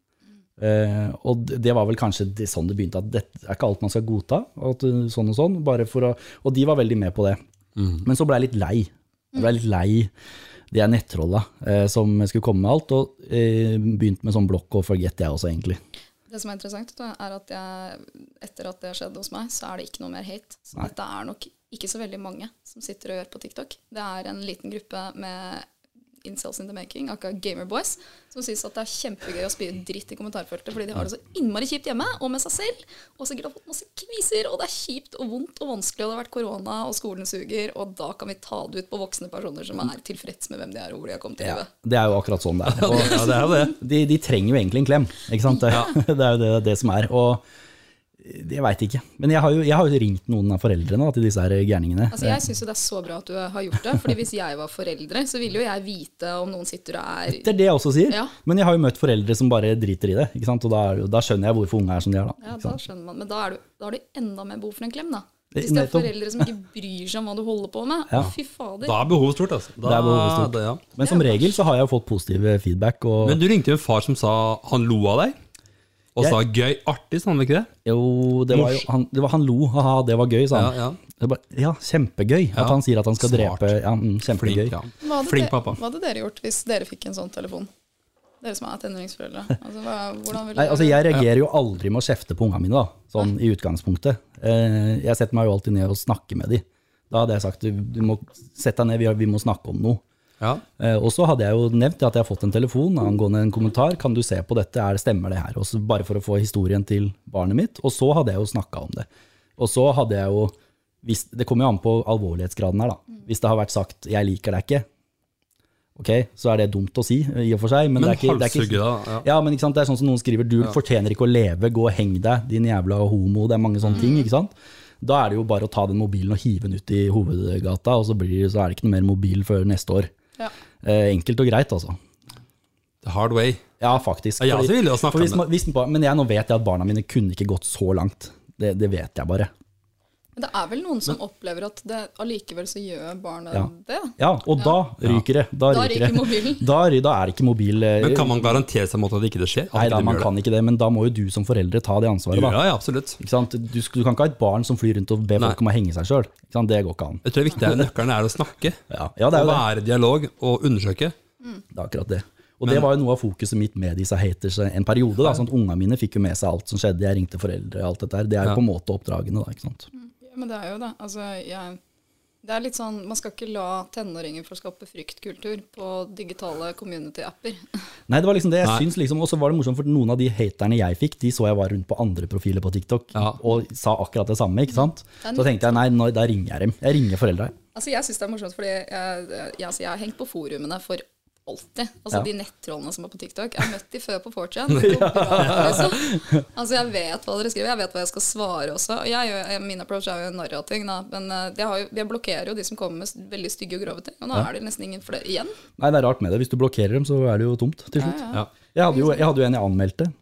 Eh, og det- det var vel kanskje det, sånn det begynte, at det er ikke alt man skal godta. og At, uh, sånn og sånn, bare for å, og de var veldig med på det. Men så ble jeg litt lei. Jeg ble litt lei De er nettrolla eh, som skulle komme med alt, og eh, begynte med sånn blokk og forget, jeg også, egentlig. Det som er interessant, da, er at jeg, etter at det skjedde hos meg, så er det ikke noe mer hate. Så Nei. dette er nok ikke så veldig mange som sitter og gjør på TikTok. Det er en liten gruppe med incels in the making, akkurat gamerboys, som syns at det er kjempegøy å spy dritt i kommentarfeltet fordi de har det så innmari kjipt hjemme og med seg selv, og sikkert har fått masse kviser, og det er kjipt og vondt og vanskelig, og det har vært korona, og skolen suger, og da kan vi ta det ut på voksne personer som er tilfreds med hvem de er, og hvor de har kommet til livet. Det er jo akkurat sånn det er. Og Ja, det er jo det. de, de trenger jo egentlig en klem, ikke sant? Det, det er jo det, det som er. Og jeg veit ikke. Men jeg har, jo, jeg har jo ringt noen av foreldrene da, til disse her gærningene. Altså, jeg syns jo det er så bra at du har gjort det. fordi hvis jeg var foreldre, så ville jo jeg vite om noen sitter og Det er er det jeg også sier. Ja. Men jeg har jo møtt foreldre som bare driter i det. Ikke sant? Og da, er, det jo- da skjønner jeg hvorfor unga er som de er. Da, Ja, ikke da sant? skjønner man. Men da er du, da har du enda mer behov for en klem, da. Det- Hvis det er nettopp. foreldre som ikke bryr seg om hva du holder på med. Ja. Å, fy fader. Da er behovet stort, altså. Da, Det er behovet stort. det, ja. Men som regel så har jeg jo fått positiv feedback. Og Men du ringte jo en far som sa han lo av deg, og Jeg- sa gøy, artig, sa han vel ikke det? jo, det var jo, Mors- han, det var, han lo. Haha, det var gøy, sa han. Ja, ja. Det var, ja kjempegøy Ja. at han sier at han skal Smart. drepe. Ja, mm, Flink, kjempegøy. ja. Hva hadde, Flink dere- pappa. hva hadde dere gjort hvis dere fikk en sånn telefon? Dere som er tenåringsforeldre. Altså, hva, hvordan ville Nei, altså dere- Jeg reagerer jo aldri med å kjefte på unga mine, da, sånn i utgangspunktet. Eh, Jeg setter meg jo alltid ned og snakker med de. Da hadde jeg sagt du, du må sette deg ned, vi, har- vi må snakke om noe. Ja. Eh, Og så hadde jeg jo nevnt at jeg har fått en telefon angående en kommentar. Kan du se på dette, er det stemmer det her? Og så bare for å få historien til barnet mitt. Og så hadde jeg jo snakka om det. Og så hadde jeg jo hvis, Det kommer jo an på alvorlighetsgraden her, da. Hvis det har vært sagt 'jeg liker deg ikke', ok, så er det dumt å si i og for seg. Men, Men det er ikke, det er halshugge, ikke, da. Ja. ja, men ikke sant? Det er sånn som noen skriver 'du fortjener ikke å leve, gå og heng deg', din jævla homo. Det er mange sånne ting. ikke sant? Da er det jo bare å ta den mobilen og hive den ut i hovedgata, og så, blir, så er det ikke noe mer mobil før neste år. Ja. Eh, enkelt og greit, altså. The hard way. Ja, faktisk. Ja, jeg også ville jo snakke for hvis, om man- hvis, man- Men jeg, nå vet jeg at barna mine kunne ikke gått så langt. Det, det vet jeg bare. Men det er vel noen som opplever at det allikevel så gjør barnet Ja. det? Ja, og da ryker det. Da, Da ryker ryker det. mobilen. Da, ry- da er det ikke mobil eh, Men kan man garantere seg mot at det ikke det skjer? At Nei ikke da, de man gjør kan ikke det, men da må jo du som foreldre ta det ansvaret, det. da. Ja, ja, absolutt. Ikke sant? Du, sk- du kan ikke ha et barn som flyr rundt og ber folk om å henge seg sjøl. Det går ikke an. Jeg tror det viktige er nøkkelen er å snakke. Ja, ja det er å jo det. være i dialog og undersøke. Det er akkurat det. Og det var jo noe av fokuset mitt med disse haters en periode. da, sånn at Unga mine fikk jo med seg alt som skjedde, jeg ringte foreldre og alt dette her. Det er jo Ja. på en måte oppdragene, da. ikke sant? Ja, men det er jo det. Altså, jeg, det er litt sånn, Man skal ikke la tenåringer få skape fryktkultur på digitale community-apper. Nei, det var liksom det jeg Nei. syns. Liksom, og så var det morsomt, for noen av de haterne jeg fikk, de så jeg var rundt på andre profiler på TikTok Ja. og sa akkurat det samme. ikke sant? Den- Så tenkte jeg nei, nå, da ringer jeg dem. Jeg ringer foreldra. Altså, Jeg syns det er morsomt, fordi jeg, jeg, altså, jeg har hengt på forumene for alltid. Altså Ja. De nettrollene som er på TikTok. Jeg har møtt de før på 4chan. Det går bra, Liksom. Altså, jeg vet hva dere skriver, jeg vet hva jeg skal svare også. Og jeg, gjør- jeg, min approach er jo en narrating, da. Men eh, jeg, har jo, jeg blokkerer jo de som kommer med s- veldig stygge og grove ting. Og nå er det nesten ingen flere igjen. Nei, det er rart med det. Hvis du blokkerer dem, så er det jo tomt til slutt. Ja. Jeg hadde jo, jeg hadde jo en jeg anmeldte.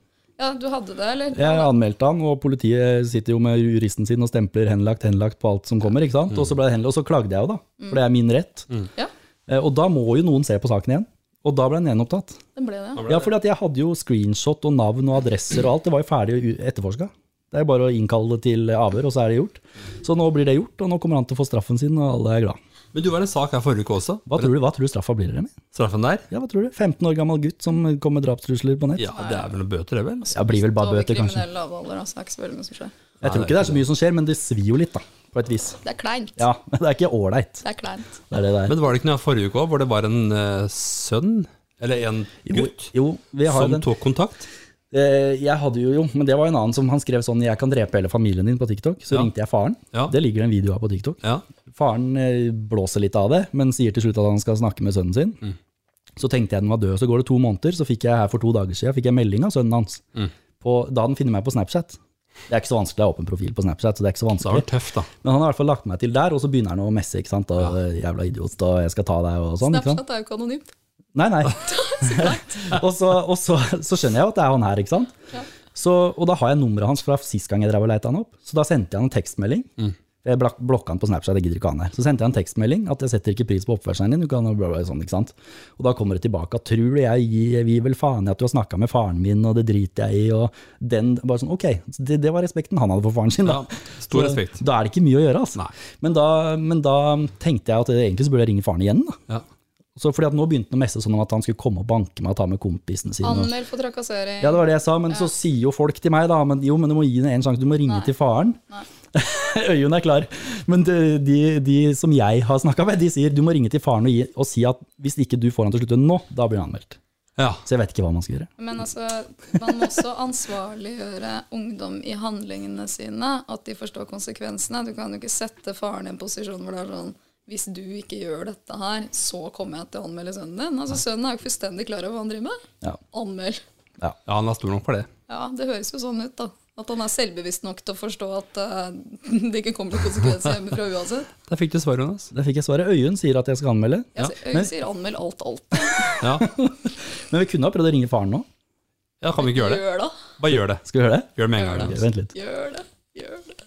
Ja, du hadde det, eller? Jeg anmeldte han, og politiet sitter jo med juristen sin og stempler 'henlagt', 'henlagt' på alt som kommer. ikke sant? Og så ble det henlagt, og så klagde jeg jo, da. Mm. For det er min rett. Ja, Eh, Og da må jo noen se på saken igjen. Og da ble den gjenopptatt. den ble det. ja. Ja, fordi at jeg hadde jo screenshot og navn og adresser og alt. Det var jo ferdig etterforska. Det er jo bare å innkalle det til avhør, og så er det gjort. Så nå blir det gjort, og nå kommer han til å få straffen sin, og alle er glad. Men du var en sak her forrige uke også. Hva tror du, hva tror du straffa blir, Remi? Straffen der? Ja, hva tror du? 15 år gammel gutt som kom med drapstrusler på nett? Ja, det er vel noen bøter, det vel? Ja, blir vel bare Over bøter, kanskje. kriminell lavalder, altså. Det er ikke så veldig mye som skjer. Jeg tror ikke det er så mye som skjer, men det svir jo litt, da. På et vis. Det er kleint. Ja, men det er ikke ålreit. Det er kleint. Det er det det er. Men var det ikke noe her forrige uke òg, hvor det var en eh, sønn, eller en gutt, Jo, vi har som den. tok kontakt? Eh, Jeg hadde jo, jo, men det var jo en annen som han skrev sånn 'Jeg kan drepe hele familien din' på TikTok. Så Ja. ringte jeg faren. Ja. Det ligger det en video av på TikTok. Ja. Faren eh, blåser litt av det, men sier til slutt at han skal snakke med sønnen sin. Så tenkte jeg den var død, så går det to måneder, så fikk jeg her for to dager siden fikk jeg melding av sønnen hans. På, da han finner meg på Snapchat. Det er ikke så vanskelig, det er åpen profil på Snapchat, så det er ikke så Så det var vanskelig. tøft, da. Men han har i hvert fall lagt meg til der, og så begynner han å messe, ikke sant. Og jævla idiot, og jeg skal ta deg, og sånn. Ikke sant? Snapchat er jo ikke anonymt. Nei, nei. og så, og så, så skjønner jeg jo at det er han her, ikke sant. Så, og da har jeg nummeret hans fra sist gang jeg drev og leita han opp. Så da sendte jeg han en tekstmelding. Mm. Jeg blak- blokka han på Snapchat, jeg gidder ikke ha han her. Så sendte jeg en tekstmelding at jeg setter ikke pris på oppførselen din. Du kan, bla, bla, bla, sånn, ikke sant? Og da kommer det tilbake at tror du jeg gir gir vel faen i at du har snakka med faren min, og det driter jeg i, og den bare sånn, Ok, det, det var respekten han hadde for faren sin, Ja, da. stor Så respekt. Da er det ikke mye å gjøre, altså. Nei. Men da, men da tenkte jeg at eh, egentlig så burde jeg ringe faren igjen, da. Ja. Så fordi at Nå begynte han å messe sånn om at han skulle komme og banke meg og ta med kompisene sine. og- Anmeld for trakassering. Ja, det var det jeg sa, men så sier jo folk til meg da, men jo, men du må gi henne en sjanse, du må ringe Nei. til faren. Øyunn er klar. Men de, de, de som jeg har snakka med, de sier du må ringe til faren og, gi, og si at hvis ikke du får han til å slutte nå, da blir han anmeldt. Ja. Så jeg vet ikke hva man skal gjøre. Men altså, man må også ansvarliggjøre ungdom i handlingene sine, at de forstår konsekvensene. Du kan jo ikke sette faren i en posisjon hvor det er sånn hvis du ikke gjør dette her, så kommer jeg til å anmelde sønnen din. Altså, Sønnen er jo ikke fullstendig klar over hva han driver med. Ja. Anmeld. Ja. ja, han er stor nok for det. Ja, det høres jo sånn ut, da. At han er selvbevisst nok til å forstå at eh, det ikke kommer til konsekvenser hjemmefra uansett. Der fikk du svar, Jonas. Der fikk jeg svaret. Øyunn sier at jeg skal anmelde. Jeg sier- jeg men- sier anmeld alt, alt. Ja. Men vi kunne ha prøvd å ringe faren nå. ja, kan vi ikke gjøre det? Gjør det. Bare gjør det. Skal vi gjøre det? Gjør det med en gang. Ok, Jonas. vent litt. Gjør det. Gjør det.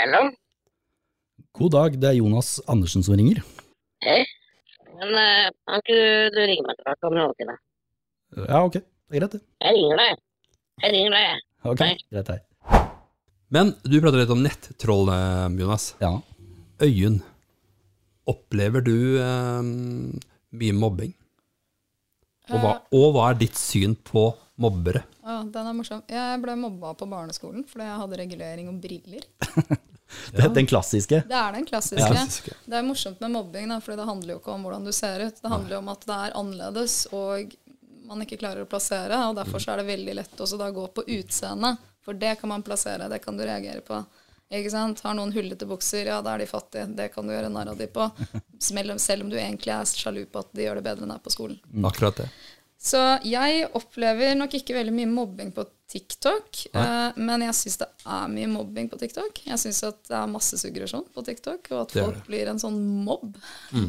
Hallo? God dag, det er Jonas Andersen som ringer. Hei. Men eh, kan ikke du, du ringe meg tilbake om noen timer? Ja, ok. Det er greit, det. Jeg ringer deg. Jeg ringer deg, jeg. Ok, Nei. greit hei. Men du prater litt om nettroll, eh, Jonas. Ja. Øyunn, opplever du eh, mye mobbing? Og hva, og hva er ditt syn på mobbere? Ja, den er morsom. Jeg ble mobba på barneskolen fordi jeg hadde regulering om briller. Det, den klassiske. Det er den klassiske. Ja, klassiske. Det er morsomt med mobbing, da, for det handler jo ikke om hvordan du ser ut. Det handler jo om at det er annerledes, og man ikke klarer å plassere. og Mm. Derfor så er det veldig lett også da å gå på utseendet, for det kan man plassere, det kan du reagere på. Ikke sant? Har noen hullete bukser, ja, da er de fattige. Det kan du gjøre narr av de på. Selv om- Selv om du egentlig er sjalu på at de gjør det bedre enn deg på skolen. Akkurat det. Så jeg opplever nok ikke veldig mye mobbing på TikTok. eh, men jeg syns det er mye mobbing på TikTok. Jeg syns at det er masse suggerasjon på TikTok, og at Det Mm. er folk blir en sånn mobb.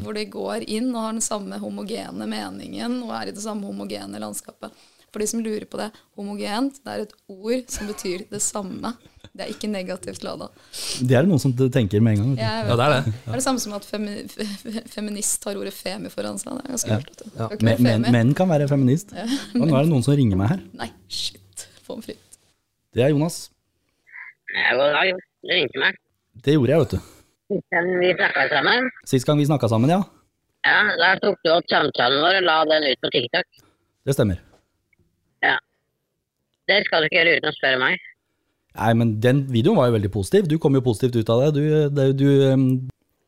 Hvor de går inn og har den samme homogene meningen og er i det samme homogene landskapet. For de som lurer på det, homogent det er et ord som betyr det samme. Det er ikke negativt lada. Det er det noen som tenker med en gang. vet du. Jeg Ja, det er det. det er det samme som at femi, fe, fe, feminist har ordet femi foran seg. Det er ganske rart. vet du. Du kan ikke Men, være men, femi. menn kan være feminist. Og nå er det noen som ringer meg her. Nei, shit. Pommes frites. Det er Jonas. Ja, God dag. Du ringte meg. Det gjorde jeg, vet du. Men vi snakka sammen. Sist gang vi snakka sammen, ja. Ja, da tok du opp samtalen vår og la den ut på TikTok. Det stemmer. Ja. Det skal du ikke gjøre uten å spørre meg. Nei, men den videoen var jo veldig positiv. Du kom jo positivt ut av det. Du, det, du ehm,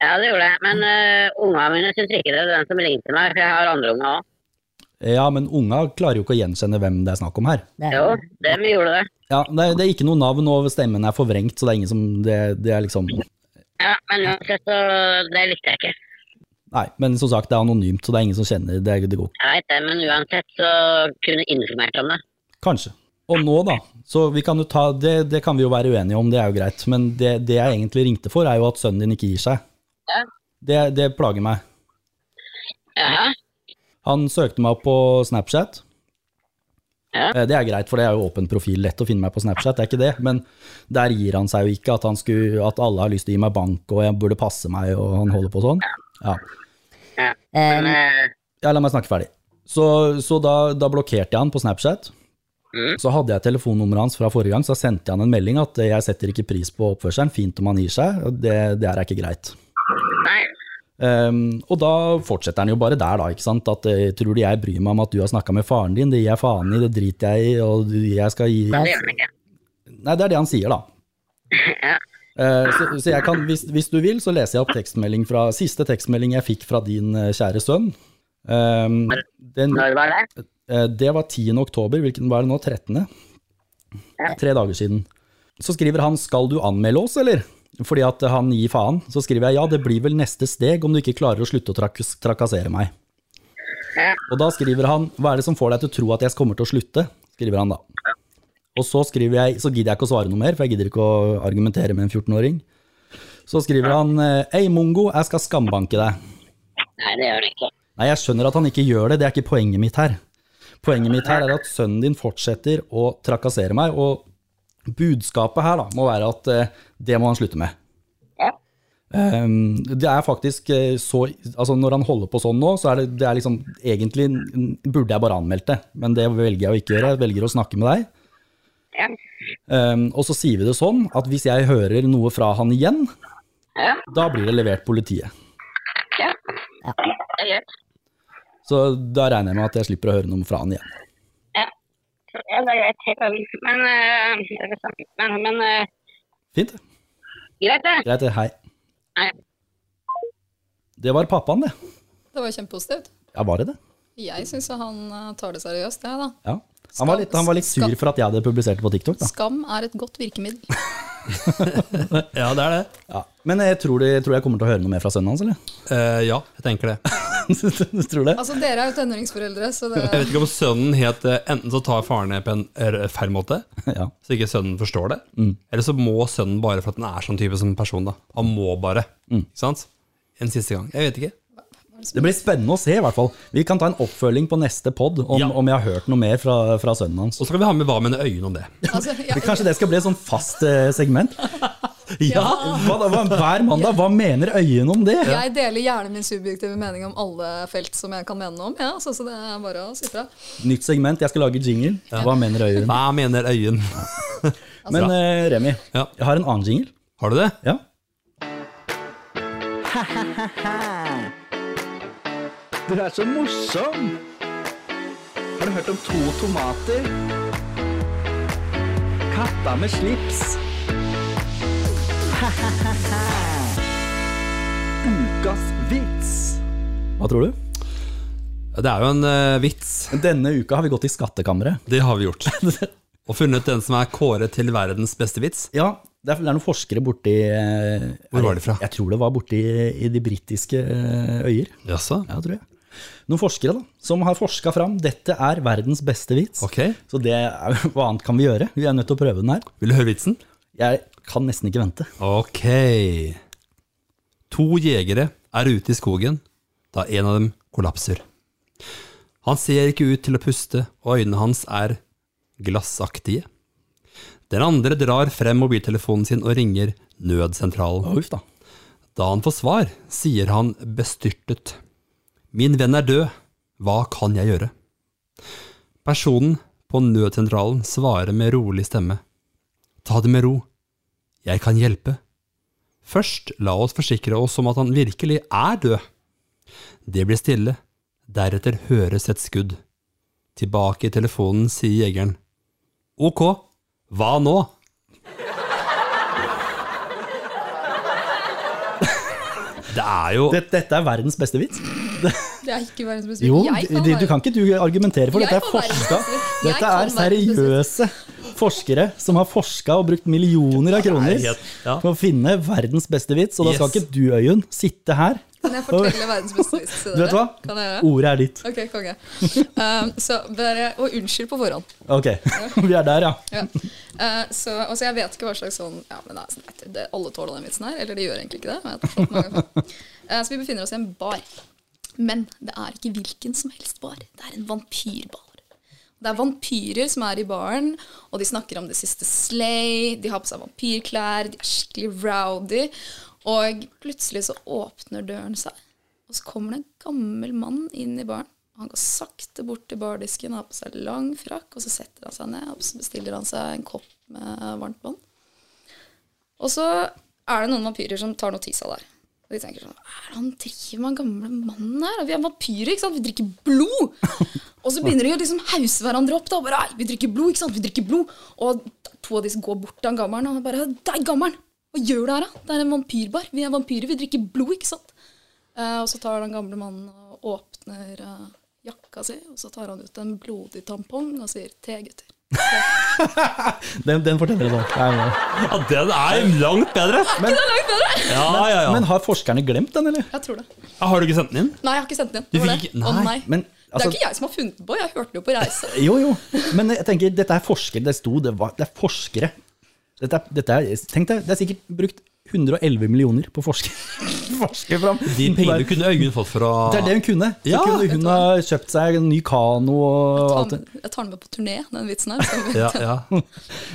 Ja, det gjorde jeg. Men uh, unga mine syns ikke det, den som ringte meg. For jeg har andre unger òg. Ja, men unga klarer jo ikke å gjenkjenne hvem det er snakk om her. Jo, dem gjorde det. Ja, det, er- det er ikke noe navn, og stemmen er forvrengt, så det er ingen som Det, det er liksom Ja, men uansett så Det likte jeg ikke. Nei, men som sagt, det er anonymt, så det er ingen som kjenner det. er- det går. Jeg veit det, men uansett så kunne jeg informert om det. Kanskje. Og nå, da. Så vi kan jo ta Det, det kan vi jo være uenige om, det er jo greit. Men det, det jeg egentlig ringte for, er jo at sønnen din ikke gir seg. Ja. Det, det plager meg. Jaha. Han søkte meg opp på Snapchat. Ja. Eh, Det er greit, for det er jo åpen profil, lett å finne meg på Snapchat, det er ikke det. Men der gir han seg jo ikke at, han skulle, at alle har lyst til å gi meg bank, og jeg burde passe meg, og han holder på sånn. Ja, Ja. Men eh, ja la meg snakke ferdig. Så, så da, da blokkerte jeg han på Snapchat. Mm. Så hadde jeg telefonnummeret hans fra forrige gang, så sendte jeg han en melding at eh, jeg setter ikke pris på oppførselen, fint om han gir seg, og det, det her er ikke greit. nei. Um, og da fortsetter han jo bare der, da. ikke sant? At eh, tror du jeg bryr meg om at du har snakka med faren din? Det gir jeg faen i, det driter jeg i, og du- jeg skal gi Det gjør den ikke. Nei, det er det han sier, da. Ja. Eh, så, så jeg kan, hvis, hvis du vil, så leser jeg opp tekstmelding fra siste tekstmelding jeg fikk fra din eh, kjære sønn. Um, den, Når var det? eh, det var 10. oktober, hvilken var det nå? 13.? Tre dager siden. Så skriver han 'skal du anmelde oss', eller? Fordi at han gir faen. Så skriver jeg 'ja, det blir vel neste steg om du ikke klarer å slutte å trak trakassere meg'. Ja. Og da skriver han 'hva er det som får deg til å tro at jeg kommer til å slutte'? skriver han da. Og så skriver jeg, så gidder jeg ikke å svare noe mer, for jeg gidder ikke å argumentere med en 14-åring. Så skriver han 'Ei, mongo, jeg skal skambanke deg'. Nei, det gjør den ikke. Nei, jeg skjønner at han ikke gjør det, det er ikke poenget mitt her. Poenget mitt her er at sønnen din fortsetter å trakassere meg, og budskapet her da, må være at eh, det må han slutte med. Ja. Ehm, det er faktisk eh, så Altså, når han holder på sånn nå, så er det, det er liksom Egentlig n- burde jeg bare anmeldt det, men det velger jeg å ikke gjøre. Jeg velger å snakke med deg. Ja. Um, og så sier vi det sånn at hvis jeg hører noe fra han igjen, Ja. da blir det levert politiet. ja. Det er greit. Så da regner jeg med at jeg slipper å høre noe fra han igjen. Ja. ja, det er greit. Helt orden. Men, eh, det er ikke sant. men, men eh, Fint. greit, det. Greit, det. hei. Nei. Det var pappaen, det. Det var kjempepositivt. Ja, var det det? Jeg syns han eh, tar det seriøst, jeg, da. Ja. Han var, litt, han var litt sur for at jeg hadde publisert det på TikTok. da. Skam er et godt virkemiddel. Ja, det er det. Ja. Men jeg tror, det, tror jeg kommer til å høre noe mer fra sønnen hans, eller? Eh, ja, jeg tenker det. du tror det? Altså, dere er jo tenåringsforeldre, så det Jeg vet ikke om sønnen het eh, Enten så tar faren det på en eh, feil måte, Ja. så ikke sønnen forstår det. Eller så må sønnen bare, for at han er sånn type som person, da. Han må bare. Ikke sant? En siste gang. Jeg vet ikke. Det blir spennende å se, i hvert fall. Vi kan ta en oppfølging på neste pod om, Ja. om jeg har hørt noe mer fra, fra sønnen hans. Og så skal vi ha med Hva mener øynene om det? altså, ja, Kanskje det skal bli et sånn fast eh, segment? Ja! Hva, da- hva, hver mandag, hva mener øyene om det? Jeg deler gjerne min subjektive mening om alle felt som jeg kan mene noe om. Ja, så, så det er bare å si fra. Nytt segment, jeg skal lage jingle. Hva mener øyene? Hva mener øyen? Men eh, Remi, Ja. jeg har en annen jingle. Har du det? Ja. Du er så morsom! Har du hørt om to tomater? Katta med slips. Ukas vits. Hva tror du? Det er jo en eh, vits. Denne uka har vi gått i skattkammeret. Det har vi gjort. Og funnet den som er kåret til verdens beste vits. Ja, det er, det er noen forskere borti eh, Hvor var de fra? Jeg tror det var borti i de britiske eh, øyer. Jaså? Ja, tror jeg. Noen forskere da, som har forska fram dette er verdens beste vits. Ok. Så det er, hva annet kan vi gjøre? Vi er nødt til å prøve den her. Vil du høre vitsen? Jeg kan nesten ikke vente. Ok. To jegere er ute i skogen da en av dem kollapser. Han ser ikke ut til å puste, og øynene hans er glassaktige. Den andre drar frem mobiltelefonen sin og ringer nødsentralen. Uff da. Da han får svar, sier han bestyrtet. Min venn er død, hva kan jeg gjøre? Personen på nødsentralen svarer med rolig stemme. Ta det med ro, jeg kan hjelpe. Først la oss forsikre oss om at han virkelig er død. Det blir stille, deretter høres et skudd. Tilbake i telefonen sier jegeren. Ok, hva nå? Det er jo Dette, dette er verdens beste vits. Det er ikke verdens beste. Jo, jeg du, du være- kan ikke du argumentere for Jeg dette er kan verdens forska. beste vits. Jeg Dette kan er verdens seriøse forskere som har forska og brukt millioner av kroner helt- ja. på å finne verdens beste vits, og da skal Yes. ikke du, Øyunn, sitte her. Kan jeg fortelle verdens beste vits til Du dere? vet hva? Oh. Kan jeg gjøre det? Ordet er ditt. Ok, konge. Um, så bare, og unnskyld på forhånd. Ok, vi er der, ja. Ja. Eh, så, og så jeg vet ikke hva slags sånn ja, men det er, sånn, vet du, det, Alle tåler den vitsen her, eller de gjør egentlig ikke det. men jeg har fått mange ganger. Eh, så vi befinner oss i en bar. Men det er ikke hvilken som helst bar. Det er en vampyrbar. Det er vampyrer som er i baren, og de snakker om det siste slay, de har på seg vampyrklær, de er skikkelig rowdy. Og plutselig så åpner døren seg, og så kommer det en gammel mann inn i baren. Han går sakte bort til bardisken, har på seg lang frakk, og så setter han seg ned og så bestiller han seg en kopp med varmt vann. Og så er det noen vampyrer som tar notis av det her. Og de tenker sånn Hva er det han driver med, den gamle mannen her? Vi er vampyrer, ikke sant? Vi drikker blod! Og så begynner de å liksom hause hverandre opp. da, og bare, «Ei, Vi drikker blod, ikke sant? Vi drikker blod. Og to av disse går bort til han gammelen og bare Deg, gammelen! Hva gjør du her, da? Det er en vampyrbar. Vi er vampyrer. Vi drikker blod, ikke sant? Eh, og så tar den gamle mannen og åpner eh, jakka si, og så tar han ut en blodig tampong og sier te, gutter. Den, den forteller det nå. Ja, den er langt bedre! Det er langt bedre! Ja, ja, ja. Men har forskerne glemt den, eller? Jeg tror det. har du ikke sendt den inn? Nei, jeg har ikke sendt den inn. Du Det var fikk det. ikke- Å, nei, men, det altså- er ikke jeg som har funnet den på, jeg hørte den jo på reise. Jo, jo. Men jeg tenker, dette er forskere. Det sto, det, var, det er forskere. Dette er, dette er, tenk deg, det er sikkert brukt 111 millioner på å forske, forske fram. De pengene du kunne øynene fått fra Det er det hun kunne. Så Ja. kunne hun ha kjøpt seg en ny kano og Ta alt det. med- Jeg tar den med på turné, den vitsen her. så- Ja, ja.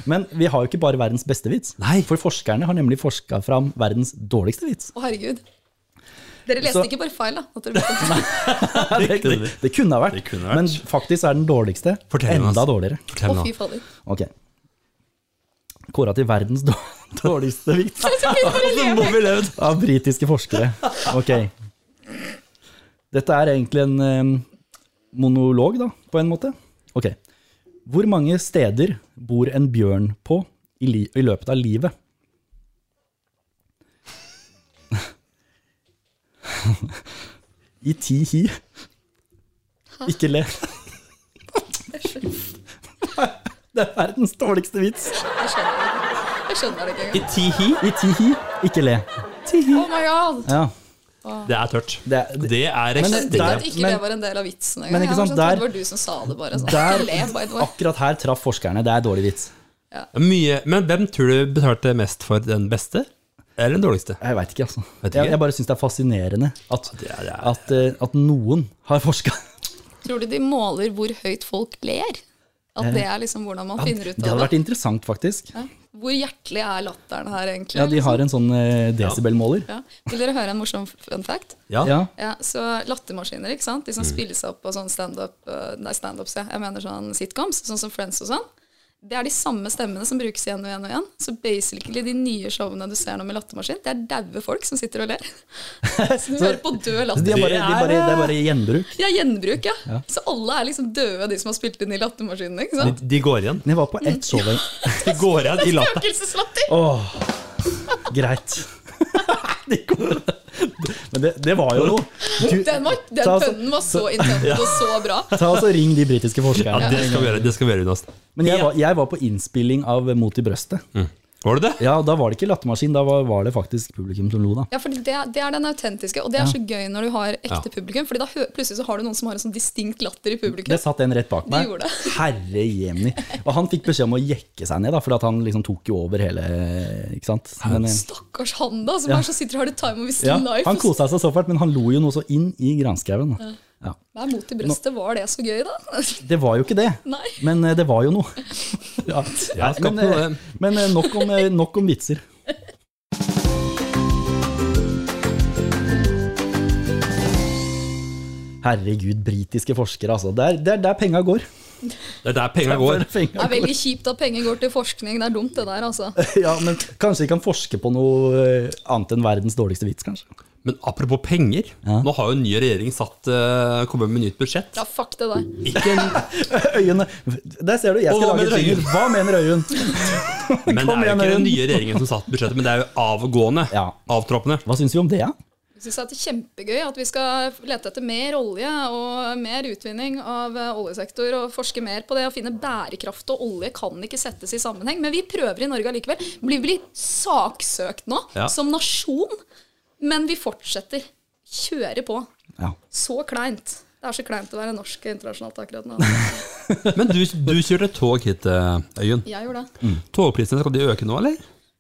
Men vi har jo ikke bare verdens beste vits. Nei. For forskerne har nemlig forska fram verdens dårligste vits. Å, herregud. Dere leste Så- ikke bare feil, da. At dere vet det. Det, kunne vi. det kunne ha vært. Det kunne vært. Men faktisk er den dårligste Fortell enda oss. dårligere. Fortell Å, nå. fy fader. Ok. Kåra til verdens dår- dårligste vits av britiske forskere. Ok. Dette er egentlig en eh, monolog, da, på en måte. Ok. Hvor mange steder bor en bjørn på i, li i løpet av livet? I ti hi. Ikke le. Det er verdens dårligste vits. Jeg skjønner det ikke. Jeg skjønner det ikke engang. I ti hi? I ti hi, ikke le. Ti hi. Oh my god! Ja, Det er tørt. det, er- det, Det er Men Jeg trodde ekstremt. der- at ikke men- det var en del av vitsen engang. men ikke Jeg var sant, sånn, trodde der- det var du som sa det, bare. Sånn. der- Ah. Ikke le, by the way. akkurat her traff forskerne. Det er dårlig vits. Mye, men hvem tror du betalte mest for den beste? Eller den dårligste? Jeg veit ikke, altså. Vet ikke. Jeg, jeg bare syns det er fascinerende at, Det er- det er- at, eh, at noen har forska. Tror du de måler hvor høyt folk ler? Eh, At det er liksom hvordan man finner ut Det hadde av det? vært interessant, faktisk. Ja. Hvor hjertelig er latteren her, egentlig? Ja, De har liksom? en sånn eh, decibelmåler. ja. Vil dere høre en morsom fun fact? Ja. Ja. Ja, så Lattermaskiner, ikke sant? de som spiller seg opp på sånn standup eh, Nei, standups, ja. jeg mener sånn sitcoms, sånn som Friends og sånn. Det er de samme stemmene som brukes igjen og igjen og igjen. Så basically de nye showene du ser nå med lattermaskin, det er daue folk som sitter og ler. Så du hører på død Altså, De er latter. bare, de er bare, det er bare gjenbruk. Ja, gjenbruk, ja. Så alle er liksom døde, de som har spilt inn i lattermaskinene. ikke De, sant? de går igjen. Men Jeg var på ett show en De går igjen i latter. Spøkelseslatter! Åh, greit. De kom- Men det, det var jo noe. Du, Den, var, den Ta altså- tønnen var så intens og så bra. ta og så Ring de britiske Ja, forskerne. det skal vi gjøre, det skal vi gjøre Jonas. Men jeg var, jeg var på innspilling av Mot i brøstet. Var Mm. det det? Ja, Da var det ikke lattermaskin, da var, var det faktisk publikum som lo, da. Ja, for det, det er den autentiske, og det er så gøy når du har ekte Ja. publikum. Fordi da hø plutselig så har du noen som har en sånn distinkt latter i publikum. Det satt en rett bak meg. gjorde det. Herre jemni. Og han fikk beskjed om å jekke seg ned, da, for at han liksom tok jo over hele Ikke sant? Men, eh, Stakkars han, da, som er så sitter og har the time of his ja, life. han og så- kosa seg så fælt, men han lo jo noe så inn i granskauen. da. Ja. Hva er mot i brøstet? Var det så gøy, da? Det var jo ikke det, Nei. men eh, det var jo noe. Ja. Ja, skapt men, eh, noe, det. men eh, nok om, eh, nok om vitser. Herregud, britiske forskere, altså. Det er, det er der penga går. Det er der penga går. Det er veldig kjipt at penger går til forskning. Det er dumt, det der, altså. Ja, men kanskje vi kan forske på noe eh, annet enn verdens dårligste vits, kanskje. Men apropos penger, nå har jo en ny regjering satt, eh, kommet med nytt budsjett. Ja, fuck det der. Ikke en, Øyene, der ser du, jeg Og hva skal lage mener en jingle. Hva mener Øyunn? men det er jo Kom ikke igjen, den Øyunn. nye regjeringen som satt budsjettet, men det er jo avgående. Ja. Avtroppende. Hva syns vi om det, da? Jeg synes at det er kjempegøy at vi skal lete etter mer olje og mer utvinning av eh, oljesektor og forske mer på det og finne bærekraft og olje kan ikke settes i sammenheng. Men vi prøver i Norge allikevel. Blir vi saksøkt nå Ja. som nasjon? Men vi fortsetter. Kjører på. Ja. Så kleint. Det er så kleint å være norsk internasjonalt akkurat nå. Men du, du kjørte tog hit, eh, Øyunn. Jeg gjorde det. Togprisene, skal de øke nå, eller?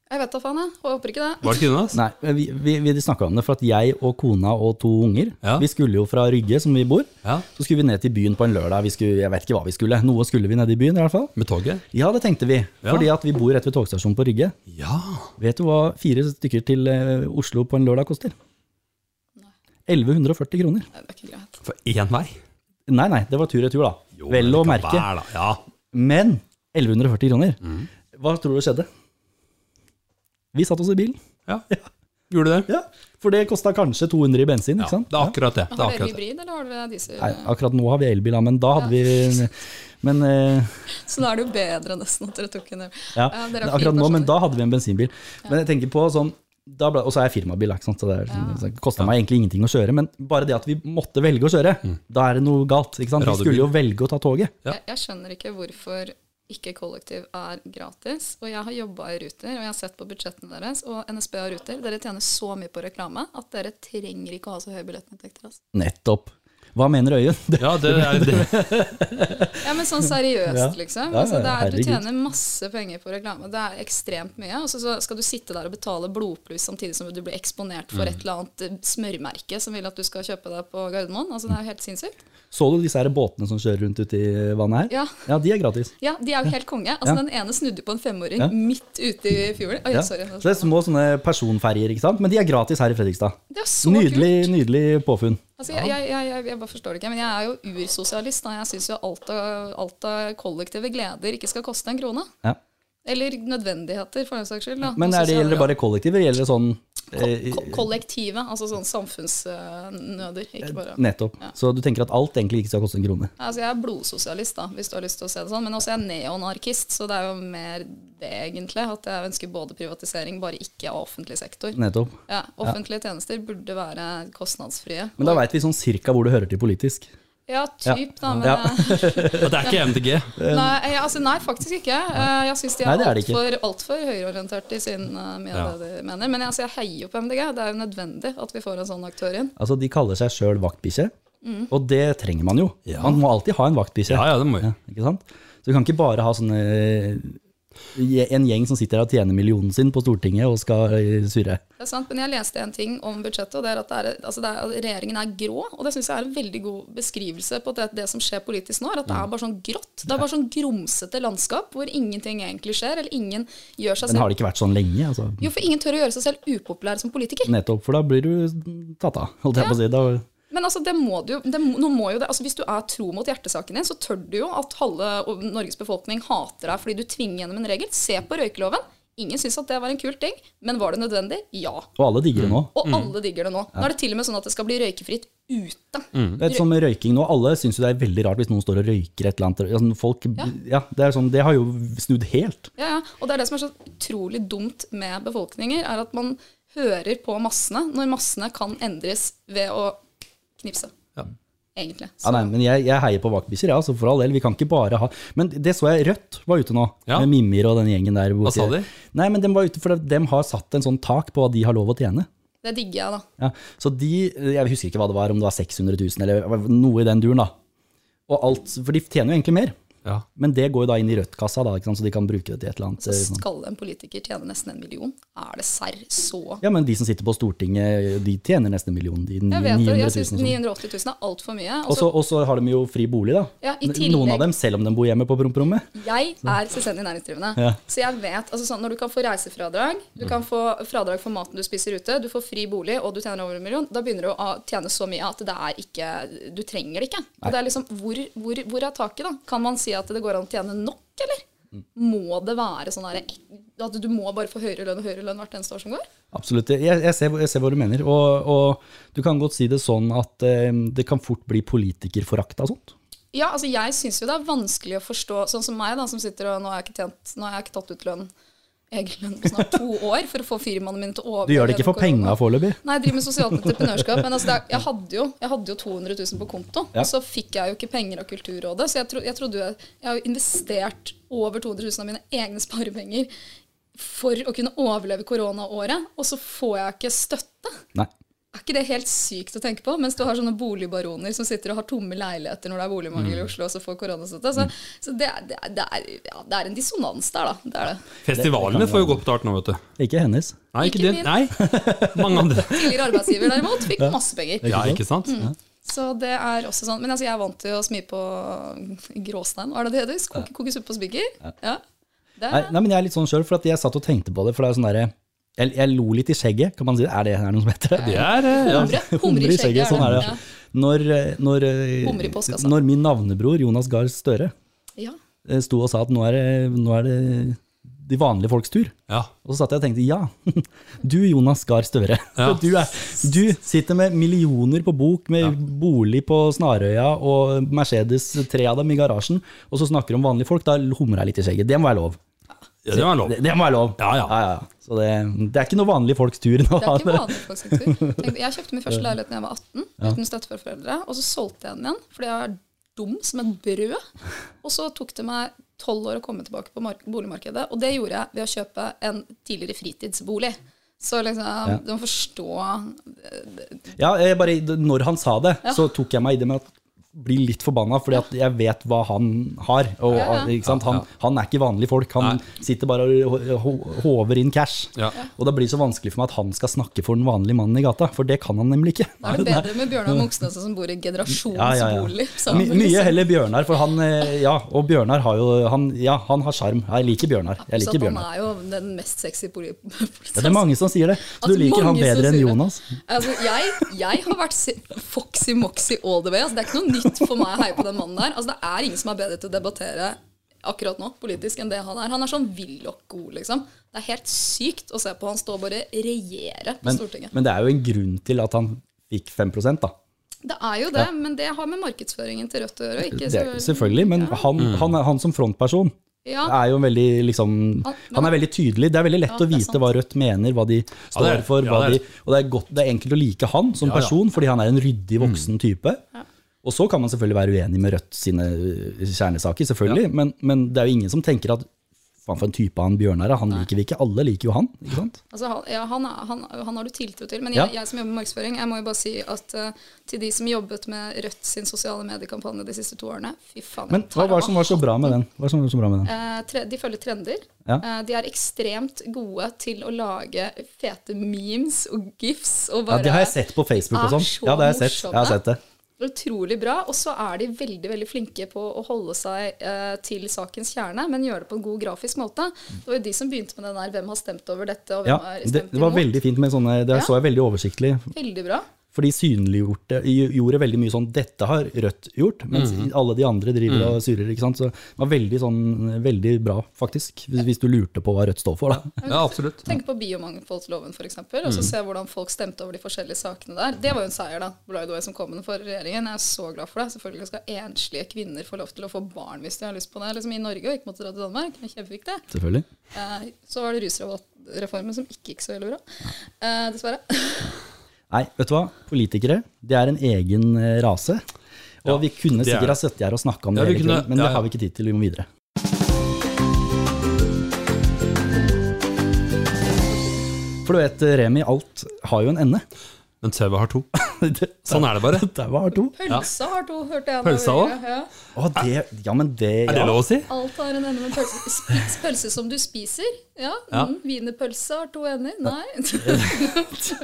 Jeg vet da faen, jeg. Og jeg håper ikke det. Var det ikke Jonas? Nei, men vi, vi, vi snakka om det, for at jeg og kona og to unger Ja. Vi skulle jo fra Rygge, som vi bor, Ja. så skulle vi ned til byen på en lørdag. Vi skulle, jeg vet ikke hva vi skulle. Noe skulle vi ned i byen, i hvert fall. Med toget? Ja, det tenkte vi. Ja. Fordi at vi bor rett ved togstasjonen på Rygge. Ja. Vet du hva fire stykker til eh, Oslo på en lørdag koster? 1140 kroner. Nei, det er ikke greit. For én vei? Nei, nei, det var tur-retur, da. Jo, men Vel det å kan merke. være, Mm. da. Ja. Men 1140 kroner. Hva tror du skjedde? Vi satt oss i bilen. ja. Gjorde det? Ja, For det kosta kanskje 200 i bensin. Ja, ikke sant? det er akkurat det. det, er Har akkurat dere det. hybrid, eller har dere diesel? Nei, akkurat nå har vi elbil, da, men da hadde vi Men eh, Så da er det jo bedre nesten at dere tok en del. ja, Ja, dere har akkurat fint nå, men personlig. da hadde vi en bensinbil. Men jeg tenker på sånn da ble, Og så er jeg firmabil, da, ikke sant? så det, er- sånn, så det kosta meg egentlig ingenting å kjøre. Men bare det at vi måtte velge å kjøre, da er det noe galt. ikke sant? Vi Radiobil. skulle jo velge å ta toget. Ja. Jeg, jeg skjønner ikke hvorfor ikke kollektiv er gratis. Og jeg har jobba i Ruter, og jeg har sett på budsjettene deres. Og NSB og Ruter, dere tjener så mye på reklame at dere trenger ikke å ha så høye billettinntekter. Altså. Nettopp. Hva mener Øyunn? Det- Ja, det er det. Ja, men sånn seriøst, Ja. liksom. Ja, Altså, det ja, er, du herregud. tjener masse penger på reklame. Det er ekstremt mye. Og så, så skal du sitte der og betale blodpluss samtidig som du blir eksponert for Mm. et eller annet eh, smørmerke som vil at du skal kjøpe deg på Gardermoen. Altså, det er jo helt sinnssykt. Så du disse her båtene som kjører rundt ute i vannet her? Ja. ja de er gratis. Ja, de er jo helt konge. Altså, Ja. Den ene snudde på en femåring Ja. midt ute i fjorden. Oi, Ja. sorry. sånn. Så det er små sånne personferjer, ikke sant? men de er gratis her i Fredrikstad. Det er så nydelig, nydelig påfunn. Altså, jeg, jeg, jeg, jeg, jeg bare forstår det ikke, men jeg er jo ursosialist. Da. Jeg syns jo alt av, alt av kollektive gleder ikke skal koste en krone. Ja. Eller nødvendigheter, for den saks skyld. Da. Men Og er det, sosiale- gjelder det bare kollektiver? Gjelder det sånn eh, Ko kollektivet, altså sånn samfunnsnøder. Ikke Eh, bare Nettopp. Ja. Så du tenker at alt egentlig ikke skal koste en krone? Altså, jeg er blodsosialist, da, hvis du har lyst til å se det sånn. Men også er jeg neoanarkist, så det er jo mer det, egentlig. At jeg ønsker både privatisering, bare ikke av offentlig sektor. Nettopp. Ja, offentlige tjenester burde være kostnadsfrie. Men da veit vi sånn cirka hvor du hører til politisk. Ja, typ, da. Men, eh, Ja. Og det er ikke MDG. nei, ja, altså, nei, faktisk ikke. Eh, Jeg syns de Nei, er, det er det alt for- altfor høyreorientert i sin eh, med Ja. det de mener. Men jeg, altså, jeg heier jo på MDG. Det er jo nødvendig at vi får en sånn aktør inn. Altså, de kaller seg sjøl vaktbikkje, Mm. og det trenger man jo. Ja. Man må alltid ha en vaktbikkje. Ja, ja, det må vi. Ja, ikke sant? Så du kan ikke bare ha sånne eh, en gjeng som sitter og tjener millionen sin på Stortinget og skal eh, surre. Det er sant, men jeg leste en ting om budsjettet, og det er at, det er, altså det er, at regjeringen er grå. Og det syns jeg er en veldig god beskrivelse på det, det som skjer politisk nå. er At det Mm. er bare sånn grått. Det er bare sånn grumsete landskap hvor ingenting egentlig skjer. Eller ingen gjør seg Men har selv det ikke vært sånn lenge? Altså. Jo, for ingen tør å gjøre seg selv upopulær som politiker. Nettopp, for da blir du tatt av, holdt jeg på å si. Da, Men altså, det må du, jo- det, må- nå må jo det, altså, hvis du er tro mot hjertesaken din, så tør du jo at halve o- Norges befolkning hater deg fordi du tvinger gjennom en regel. Se på røykeloven. Ingen syns at det var en kul ting, men var det nødvendig? Ja. og alle Mm. digger det nå. Og alle digger det nå. Nå er det til og med sånn at det skal bli røykefritt ute. Det er som med røyking nå, Alle syns jo det er veldig rart hvis noen står og røyker et eller annet. Altså, folk, ja. det, er sånn, det har jo snudd helt. Ja, ja. Og det er det som er så utrolig dumt med befolkninger, er at man hører på massene når massene kan endres ved å knipse. Ja. Egentlig. Ja, Så, nei, men jeg, jeg heier på vaktbikkjer, ja, altså, for all del. Vi kan ikke bare ha Men det så jeg Rødt var ute nå, Ja. med Mimir og den gjengen der. borte. Hva sa de? Nei, men De var ute, for de har satt en sånn tak på hva de har lov å tjene. det digger jeg, da. Ja, så de, jeg husker ikke hva det var, om det var 600 000 eller noe i den duren. da. Og alt, For de tjener jo egentlig mer, Ja. men det går jo da inn i Rødt-kassa, da, ikke sant? så de kan bruke det til et eller annet. Så eh, sånn. skal en politiker tjene nesten en million. Er det serr så Ja, men de som sitter på Stortinget, de tjener nesten en million. De Jeg 900 vet 000 det. Jeg og syns sånn. 980 000 er altfor mye. Og Og så så- Og så har de jo fri bolig, da. Ja, i Noen tillegg. av dem, selv om de bor hjemme på promperommet. Altså, jeg er selvstendig næringsdrivende. Ja. Mm. Så jeg vet altså sånn, Når du kan få reisefradrag, du kan få fradrag for maten du spiser ute, du får fri bolig, og du tjener over en million, da begynner du å tjene så mye at det er ikke Du trenger det ikke. Og det er liksom, hvor, hvor, hvor er taket, da? Kan man si at det går an å tjene nok, eller? Mm. Må det være sånn her, at du må bare få høyere lønn og høyere lønn hvert eneste år som går? Absolutt. Jeg, jeg, ser, jeg ser hva du mener. Og, og du kan godt si det sånn at eh, det kan fort bli politikerforakt av sånt. Ja, altså jeg syns jo det er vanskelig å forstå Sånn som meg, da, som sitter og nå har jeg ikke, tjent, nå har jeg ikke tatt ut lønn, egen lønn på snart to år for å få firmaene mine til å overleve. Du gjør det ikke for korona. penga foreløpig. Nei, jeg driver med sosialt entreprenørskap. Men altså, det er, jeg, hadde jo, jeg hadde jo 200 000 på konto, Ja. og så fikk jeg jo ikke penger av Kulturrådet. Så jeg, tro, jeg trodde jo jeg, jeg har jo investert over 200 000 av mine egne sparepenger for å kunne overleve koronaåret, og så får jeg ikke støtte. Nei. Er ikke det helt sykt å tenke på? Mens du har sånne boligbaroner som sitter og har tomme leiligheter når det er boligmangel i Oslo, og så får koronastøtte. Så, så det, er- det, er- det, er, ja, det er en dissonans der, da. Det er det. Festivalene får jo godt betalt nå, vet du. Ikke hennes. Nei, Ikke ikke det. min. Nei. Mange andre. Tidligere arbeidsgiver, derimot, fikk masse penger. Ja, ikke sant? Mm. Så det er også sånn. Men altså, jeg er vant til å smi på gråstein, hva er det det heter? Koke, koke suppe på spiker? Ja. Det Nei, er, nei, men jeg er litt sånn sjøl, for at jeg satt og tenkte på det. For det er sånn derre jeg, jeg lo litt i skjegget, kan man si det? Er det er det noe som heter det? Det er eh, ja. humre. Humre i skjegget. sånn er det. Ja. Når, eh, når, eh, Humre i postkassa. når min navnebror Jonas Gahr Støre Ja. eh, sto og sa at nå er, det, nå er det de vanlige folks tur. ja. Og så satt jeg og tenkte ja, du Jonas Gahr Støre. Ja. Du, er, du sitter med millioner på bok, med bolig på Snarøya og Mercedes, tre av dem i garasjen, og så snakker du om vanlige folk. Da humrer jeg litt i skjegget. Det må være lov. Ja, Det var lov. Det, det må være lov. Ja, ja. Så det, det er ikke noe vanlige folks tur nå. Det er ikke vanlig folk sin tur. Tenk, Jeg kjøpte min første leilighet da jeg var 18, uten støtte fra foreldre. Og så solgte jeg den igjen, fordi jeg er dum som et brød. Og så tok det meg tolv år å komme tilbake på mark- boligmarkedet, og det gjorde jeg ved å kjøpe en tidligere fritidsbolig. Så liksom, du må forstå Ja, jeg bare, når han sa det, så tok jeg meg i det med at bli litt forbanna, fordi at jeg vet hva han har. Og, Ja, ja. Ikke sant? Han, han er ikke vanlige folk. Han Nei. sitter bare og ho- ho- håver inn cash. Ja. Og da blir det så vanskelig for meg at han skal snakke for den vanlige mannen i gata, for det kan han nemlig ikke. Da er det bedre med Bjørnar Moxnes som bor i generasjonsbolig. Ja, ja, ja. sammen, My, mye liksom. heller Bjørnar, for han eh, Ja, og Bjørnar har jo Han, ja, han har sjarm. Jeg liker Bjørnar. Jeg Så at liker Bjørnar. Han er jo den mest sexy poli- Ja, det er mange som sier det. Så du At liker han Altså, mange som bedre enn sier det. Jonas. Altså, jeg, jeg har vært si- foxy moxy all the way. Altså, det er ikke noe nytt for meg å heie på den mannen der. Altså, det er ingen som er bedre til å debattere akkurat nå politisk enn det han er. Han er sånn Willoch-god, liksom. Det er helt sykt å se på. Han står og bare regjerer på Men, Stortinget. men det er jo en grunn til at han fikk 5 da. Det er jo det, men det har med markedsføringen til Rødt å gjøre. Ikke Det, selvfølgelig, men han, Mm. han, er- han som frontperson Ja. er jo veldig liksom Han- Han er veldig tydelig. Det er veldig lett Ja, å det er vite hva Rødt mener, hva de står det er det. for. Ja, Hva det er de, og det er, godt, det er enkelt å like han som Ja, Mm. ja. person, fordi han er en ryddig, voksen type. Og så kan man selvfølgelig være uenig med Rødt sine øh, kjernesaker, selvfølgelig, men, men det er jo ingen som tenker at faen for en type han Bjørnar er, han liker vi ikke. Alle liker jo han, ikke sant? Altså, han, ja, han, er- han, han har du tiltro til. Men Ja. jeg, jeg som jobber med markedsføring, jeg må jo bare si at eh, til de som jobbet med Rødt sin sosiale mediekampanje de siste to årene Fy faen. Men jeg tar hva var av det som var så bra med den? Hva var det som var så bra med den? Eh, tre, de følger trender. Ja. Eh, de er ekstremt gode til å lage fete memes og gifs. Og Ja, bare det har jeg sett på Facebook og er sånn. så Ja, det har jeg sett. morsomme. Jeg har sett det. Utrolig bra. Og så er de veldig veldig flinke på å holde seg eh, til sakens kjerne, men gjøre det på en god grafisk måte. Det var jo de som begynte med den der 'Hvem har stemt over dette?' og hvem Ja, har det, stemt det var imot. veldig fint med sånne Det Ja. så jeg veldig oversiktlig. veldig bra. For de synliggjorde gjorde veldig mye sånn 'dette har Rødt gjort', mens Mm, alle de andre driver og surrer. ikke sant? Så det var veldig, sånn, veldig bra, faktisk, hvis, hvis du lurte på hva Rødt står for. da. Ja, absolutt. Tenk på biomangfoldsloven f.eks., og Mm. så se hvordan folk stemte over de forskjellige sakene der. Det var jo en seier, da. Blideway som kom med den for regjeringen. Jeg er så glad for det. Selvfølgelig skal enslige kvinner få lov til å få barn hvis de har lyst på det, liksom i Norge, og ikke måtte dra til Danmark. Det er kjempeviktig. Selvfølgelig. Eh, Så var det rusreformen som ikke gikk så veldig bra, eh, dessverre. Nei, vet du hva? Politikere det er en egen eh, rase. Og vi kunne det er sikkert det. ha sittet her og snakka om Ja, det, vi hele kunne- tiden, men ja, det ja. har vi ikke tid til. Vi må videre. For du vet, Remi, alt har jo en ende. Men TV har to. Det- Sånn er det bare. Der var to. Pølsa har to, hørte jeg. nå. Pølsa også? Ja. Å, det, ja, men det, Er det ja. lov å si? Alt har en ende med pølse. Spis pølse som du spiser. Ja. Ja. Mm, Wienerpølse har to ender. Nei.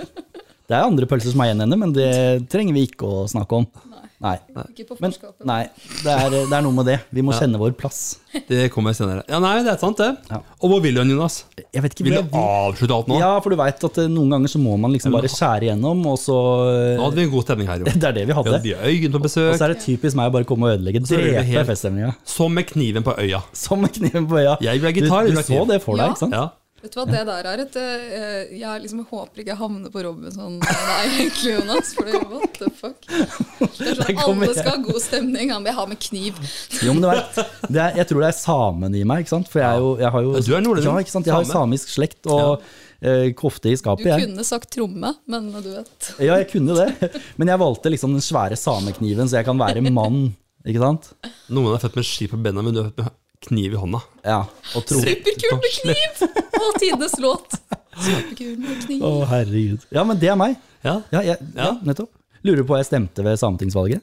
det er andre pølser som har en ende, men det trenger vi ikke å snakke om. Nei. Ikke på Men forskapet. nei, det er, det er noe med det. Vi må kjenne vår plass. Det kommer senere. Ja, nei, det er sant, det. Ja. Og hvor vil du hen, Jonas? Jeg vet ikke Vil hvor du jeg vil. avslutte alt nå? Ja, for du veit at eh, noen ganger så må man liksom bare skjære igjennom, og så Nå hadde vi en god stemning her, jo. Det er det vi Ja, hadde. de øyene på Og så besøk. er det typisk meg å bare komme og ødelegge. så ødelegger vi Drepe helt- feststemninga. Som med kniven på øya. Som med kniven på øya. Jeg vil ha gitar, Du, jeg vil du ha så kniv. det for deg, Ja. ikke sant? Ja. Vet du hva, det der er et eh, Jeg liksom håper ikke jeg havner på Robinson med deg egentlig, Jonas. For det, what the fuck. Det er Der sånn, kommer alle jeg. skal ha god stemning. Han vil ha med kniv. Jo, men du vet, det er, jeg tror det er samen i meg, ikke sant? For jeg, er jo, jeg har jo Ja, du er nordlending. Ja, ikke sant? Jeg har jo Same. samisk slekt og eh, kofte i Du skapet, jeg. kunne sagt tromme, men du vet. Ja, jeg kunne det. Men jeg valgte liksom den svære samekniven, så jeg kan være mann, ikke sant? Noen er født med ski på bena, men du er født med kniv i hånda. Ja, og tro. Superkul med kniv! Og tidenes låt. Superkul med kniv. Å, herregud. Ja, men det er meg. Ja? Ja, jeg, ja. Ja. nettopp. Lurer du på hva jeg stemte ved sametingsvalget?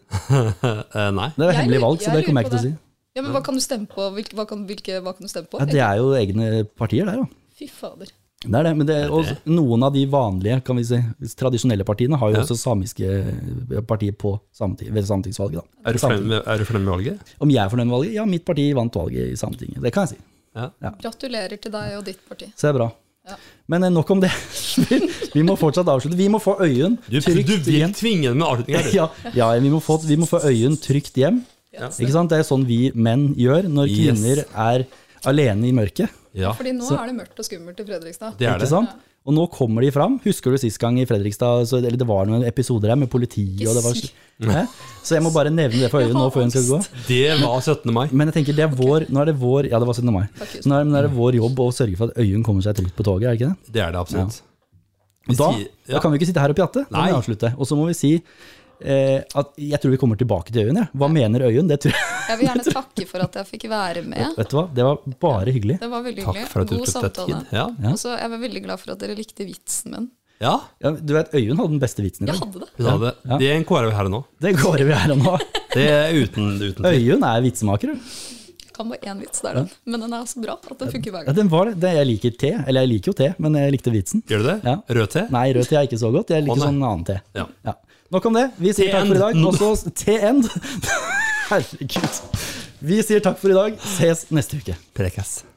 Eh, nei. Det er Jeg hemmelig lurer- valg, så jeg det kommer jeg ikke lurer til å på si. Ja, men hva kan du stemme på? Hvilke, hva, kan, hvilke, hva kan du stemme på? Ja, det er jo egne partier der, jo. Fy fader. Det er det, men det, og noen av de vanlige, kan vi si, tradisjonelle partiene har jo Ja. også samiske eh, partier på sameti- ved sametingsvalget. Da. Er du fornøyd med, er du fornøyd med valget? Om jeg er fornøyd med valget? Ja, mitt parti vant valget i Sametinget. Det kan jeg si. Ja. Gratulerer til deg og ditt parti. Så det er bra. Ja. Men eh, nok om det. Vi, vi må fortsatt avslutte. Vi må få øyen Du, du trygt vil hjem. tvinge dem med avslutning her, du. Ja, ja vi, må få, vi må få øyen trygt hjem. Ikke sant? Det er sånn vi menn gjør når Yes. kvinner er alene i mørket. Ja, Fordi nå er det mørkt og skummelt i Fredrikstad. det er Ikke det. sant? Og nå kommer de fram. Husker du sist gang i Fredrikstad, så, eller det var noen episoder her med politiet og det var, Ikke Hæ? Så jeg må bare nevne det for øyet nå før hun skal gå. Det var 17. mai. Men jeg tenker, det er vår, nå er det vår Ja, det var 17. mai. Takk, Nå er, men nå er Mm. det vår jobb å sørge for at Øyunn kommer seg trygt på toget, er det ikke det? Det er det absolutt. Og da, sier- ja. da kan vi ikke sitte her og pjatte. Da må Nei. vi avslutte. Og så må vi si eh, at jeg tror vi kommer tilbake til Øyunn. Ja. Hva mener Øyunn? Det tror jeg. Jeg vil gjerne takke for at jeg fikk være med. Vet du hva, det var bare hyggelig. Det var veldig Takk hyggelig. for at du God tok deg tid. samtale. Ja. Ja. Og så er jeg var veldig glad for at dere likte vitsen min. ja, Ja, du vet, Øyunn hadde den beste vitsen i Jeg dag. hadde det. hun hadde det. Det er en KRV her og nå. Det går vi her og nå. Det er uten, uten tvil. Øyunn er vitsmaker, du. Jeg Kan bare én vits, det er den. Men den er så bra at den funker hver Ja, gang. den var det. det. Jeg liker te. Eller jeg liker jo te, men jeg likte vitsen. Gjør du det? Ja. Rød te? Nei, rød te er ikke så godt. Jeg liker Å, nei. sånn annen te. Ja. Nok om det. Vi sier takk for i dag. T-end. Og så T-end. Herregud. Vi sier takk for i dag. Ses neste uke. Prekas.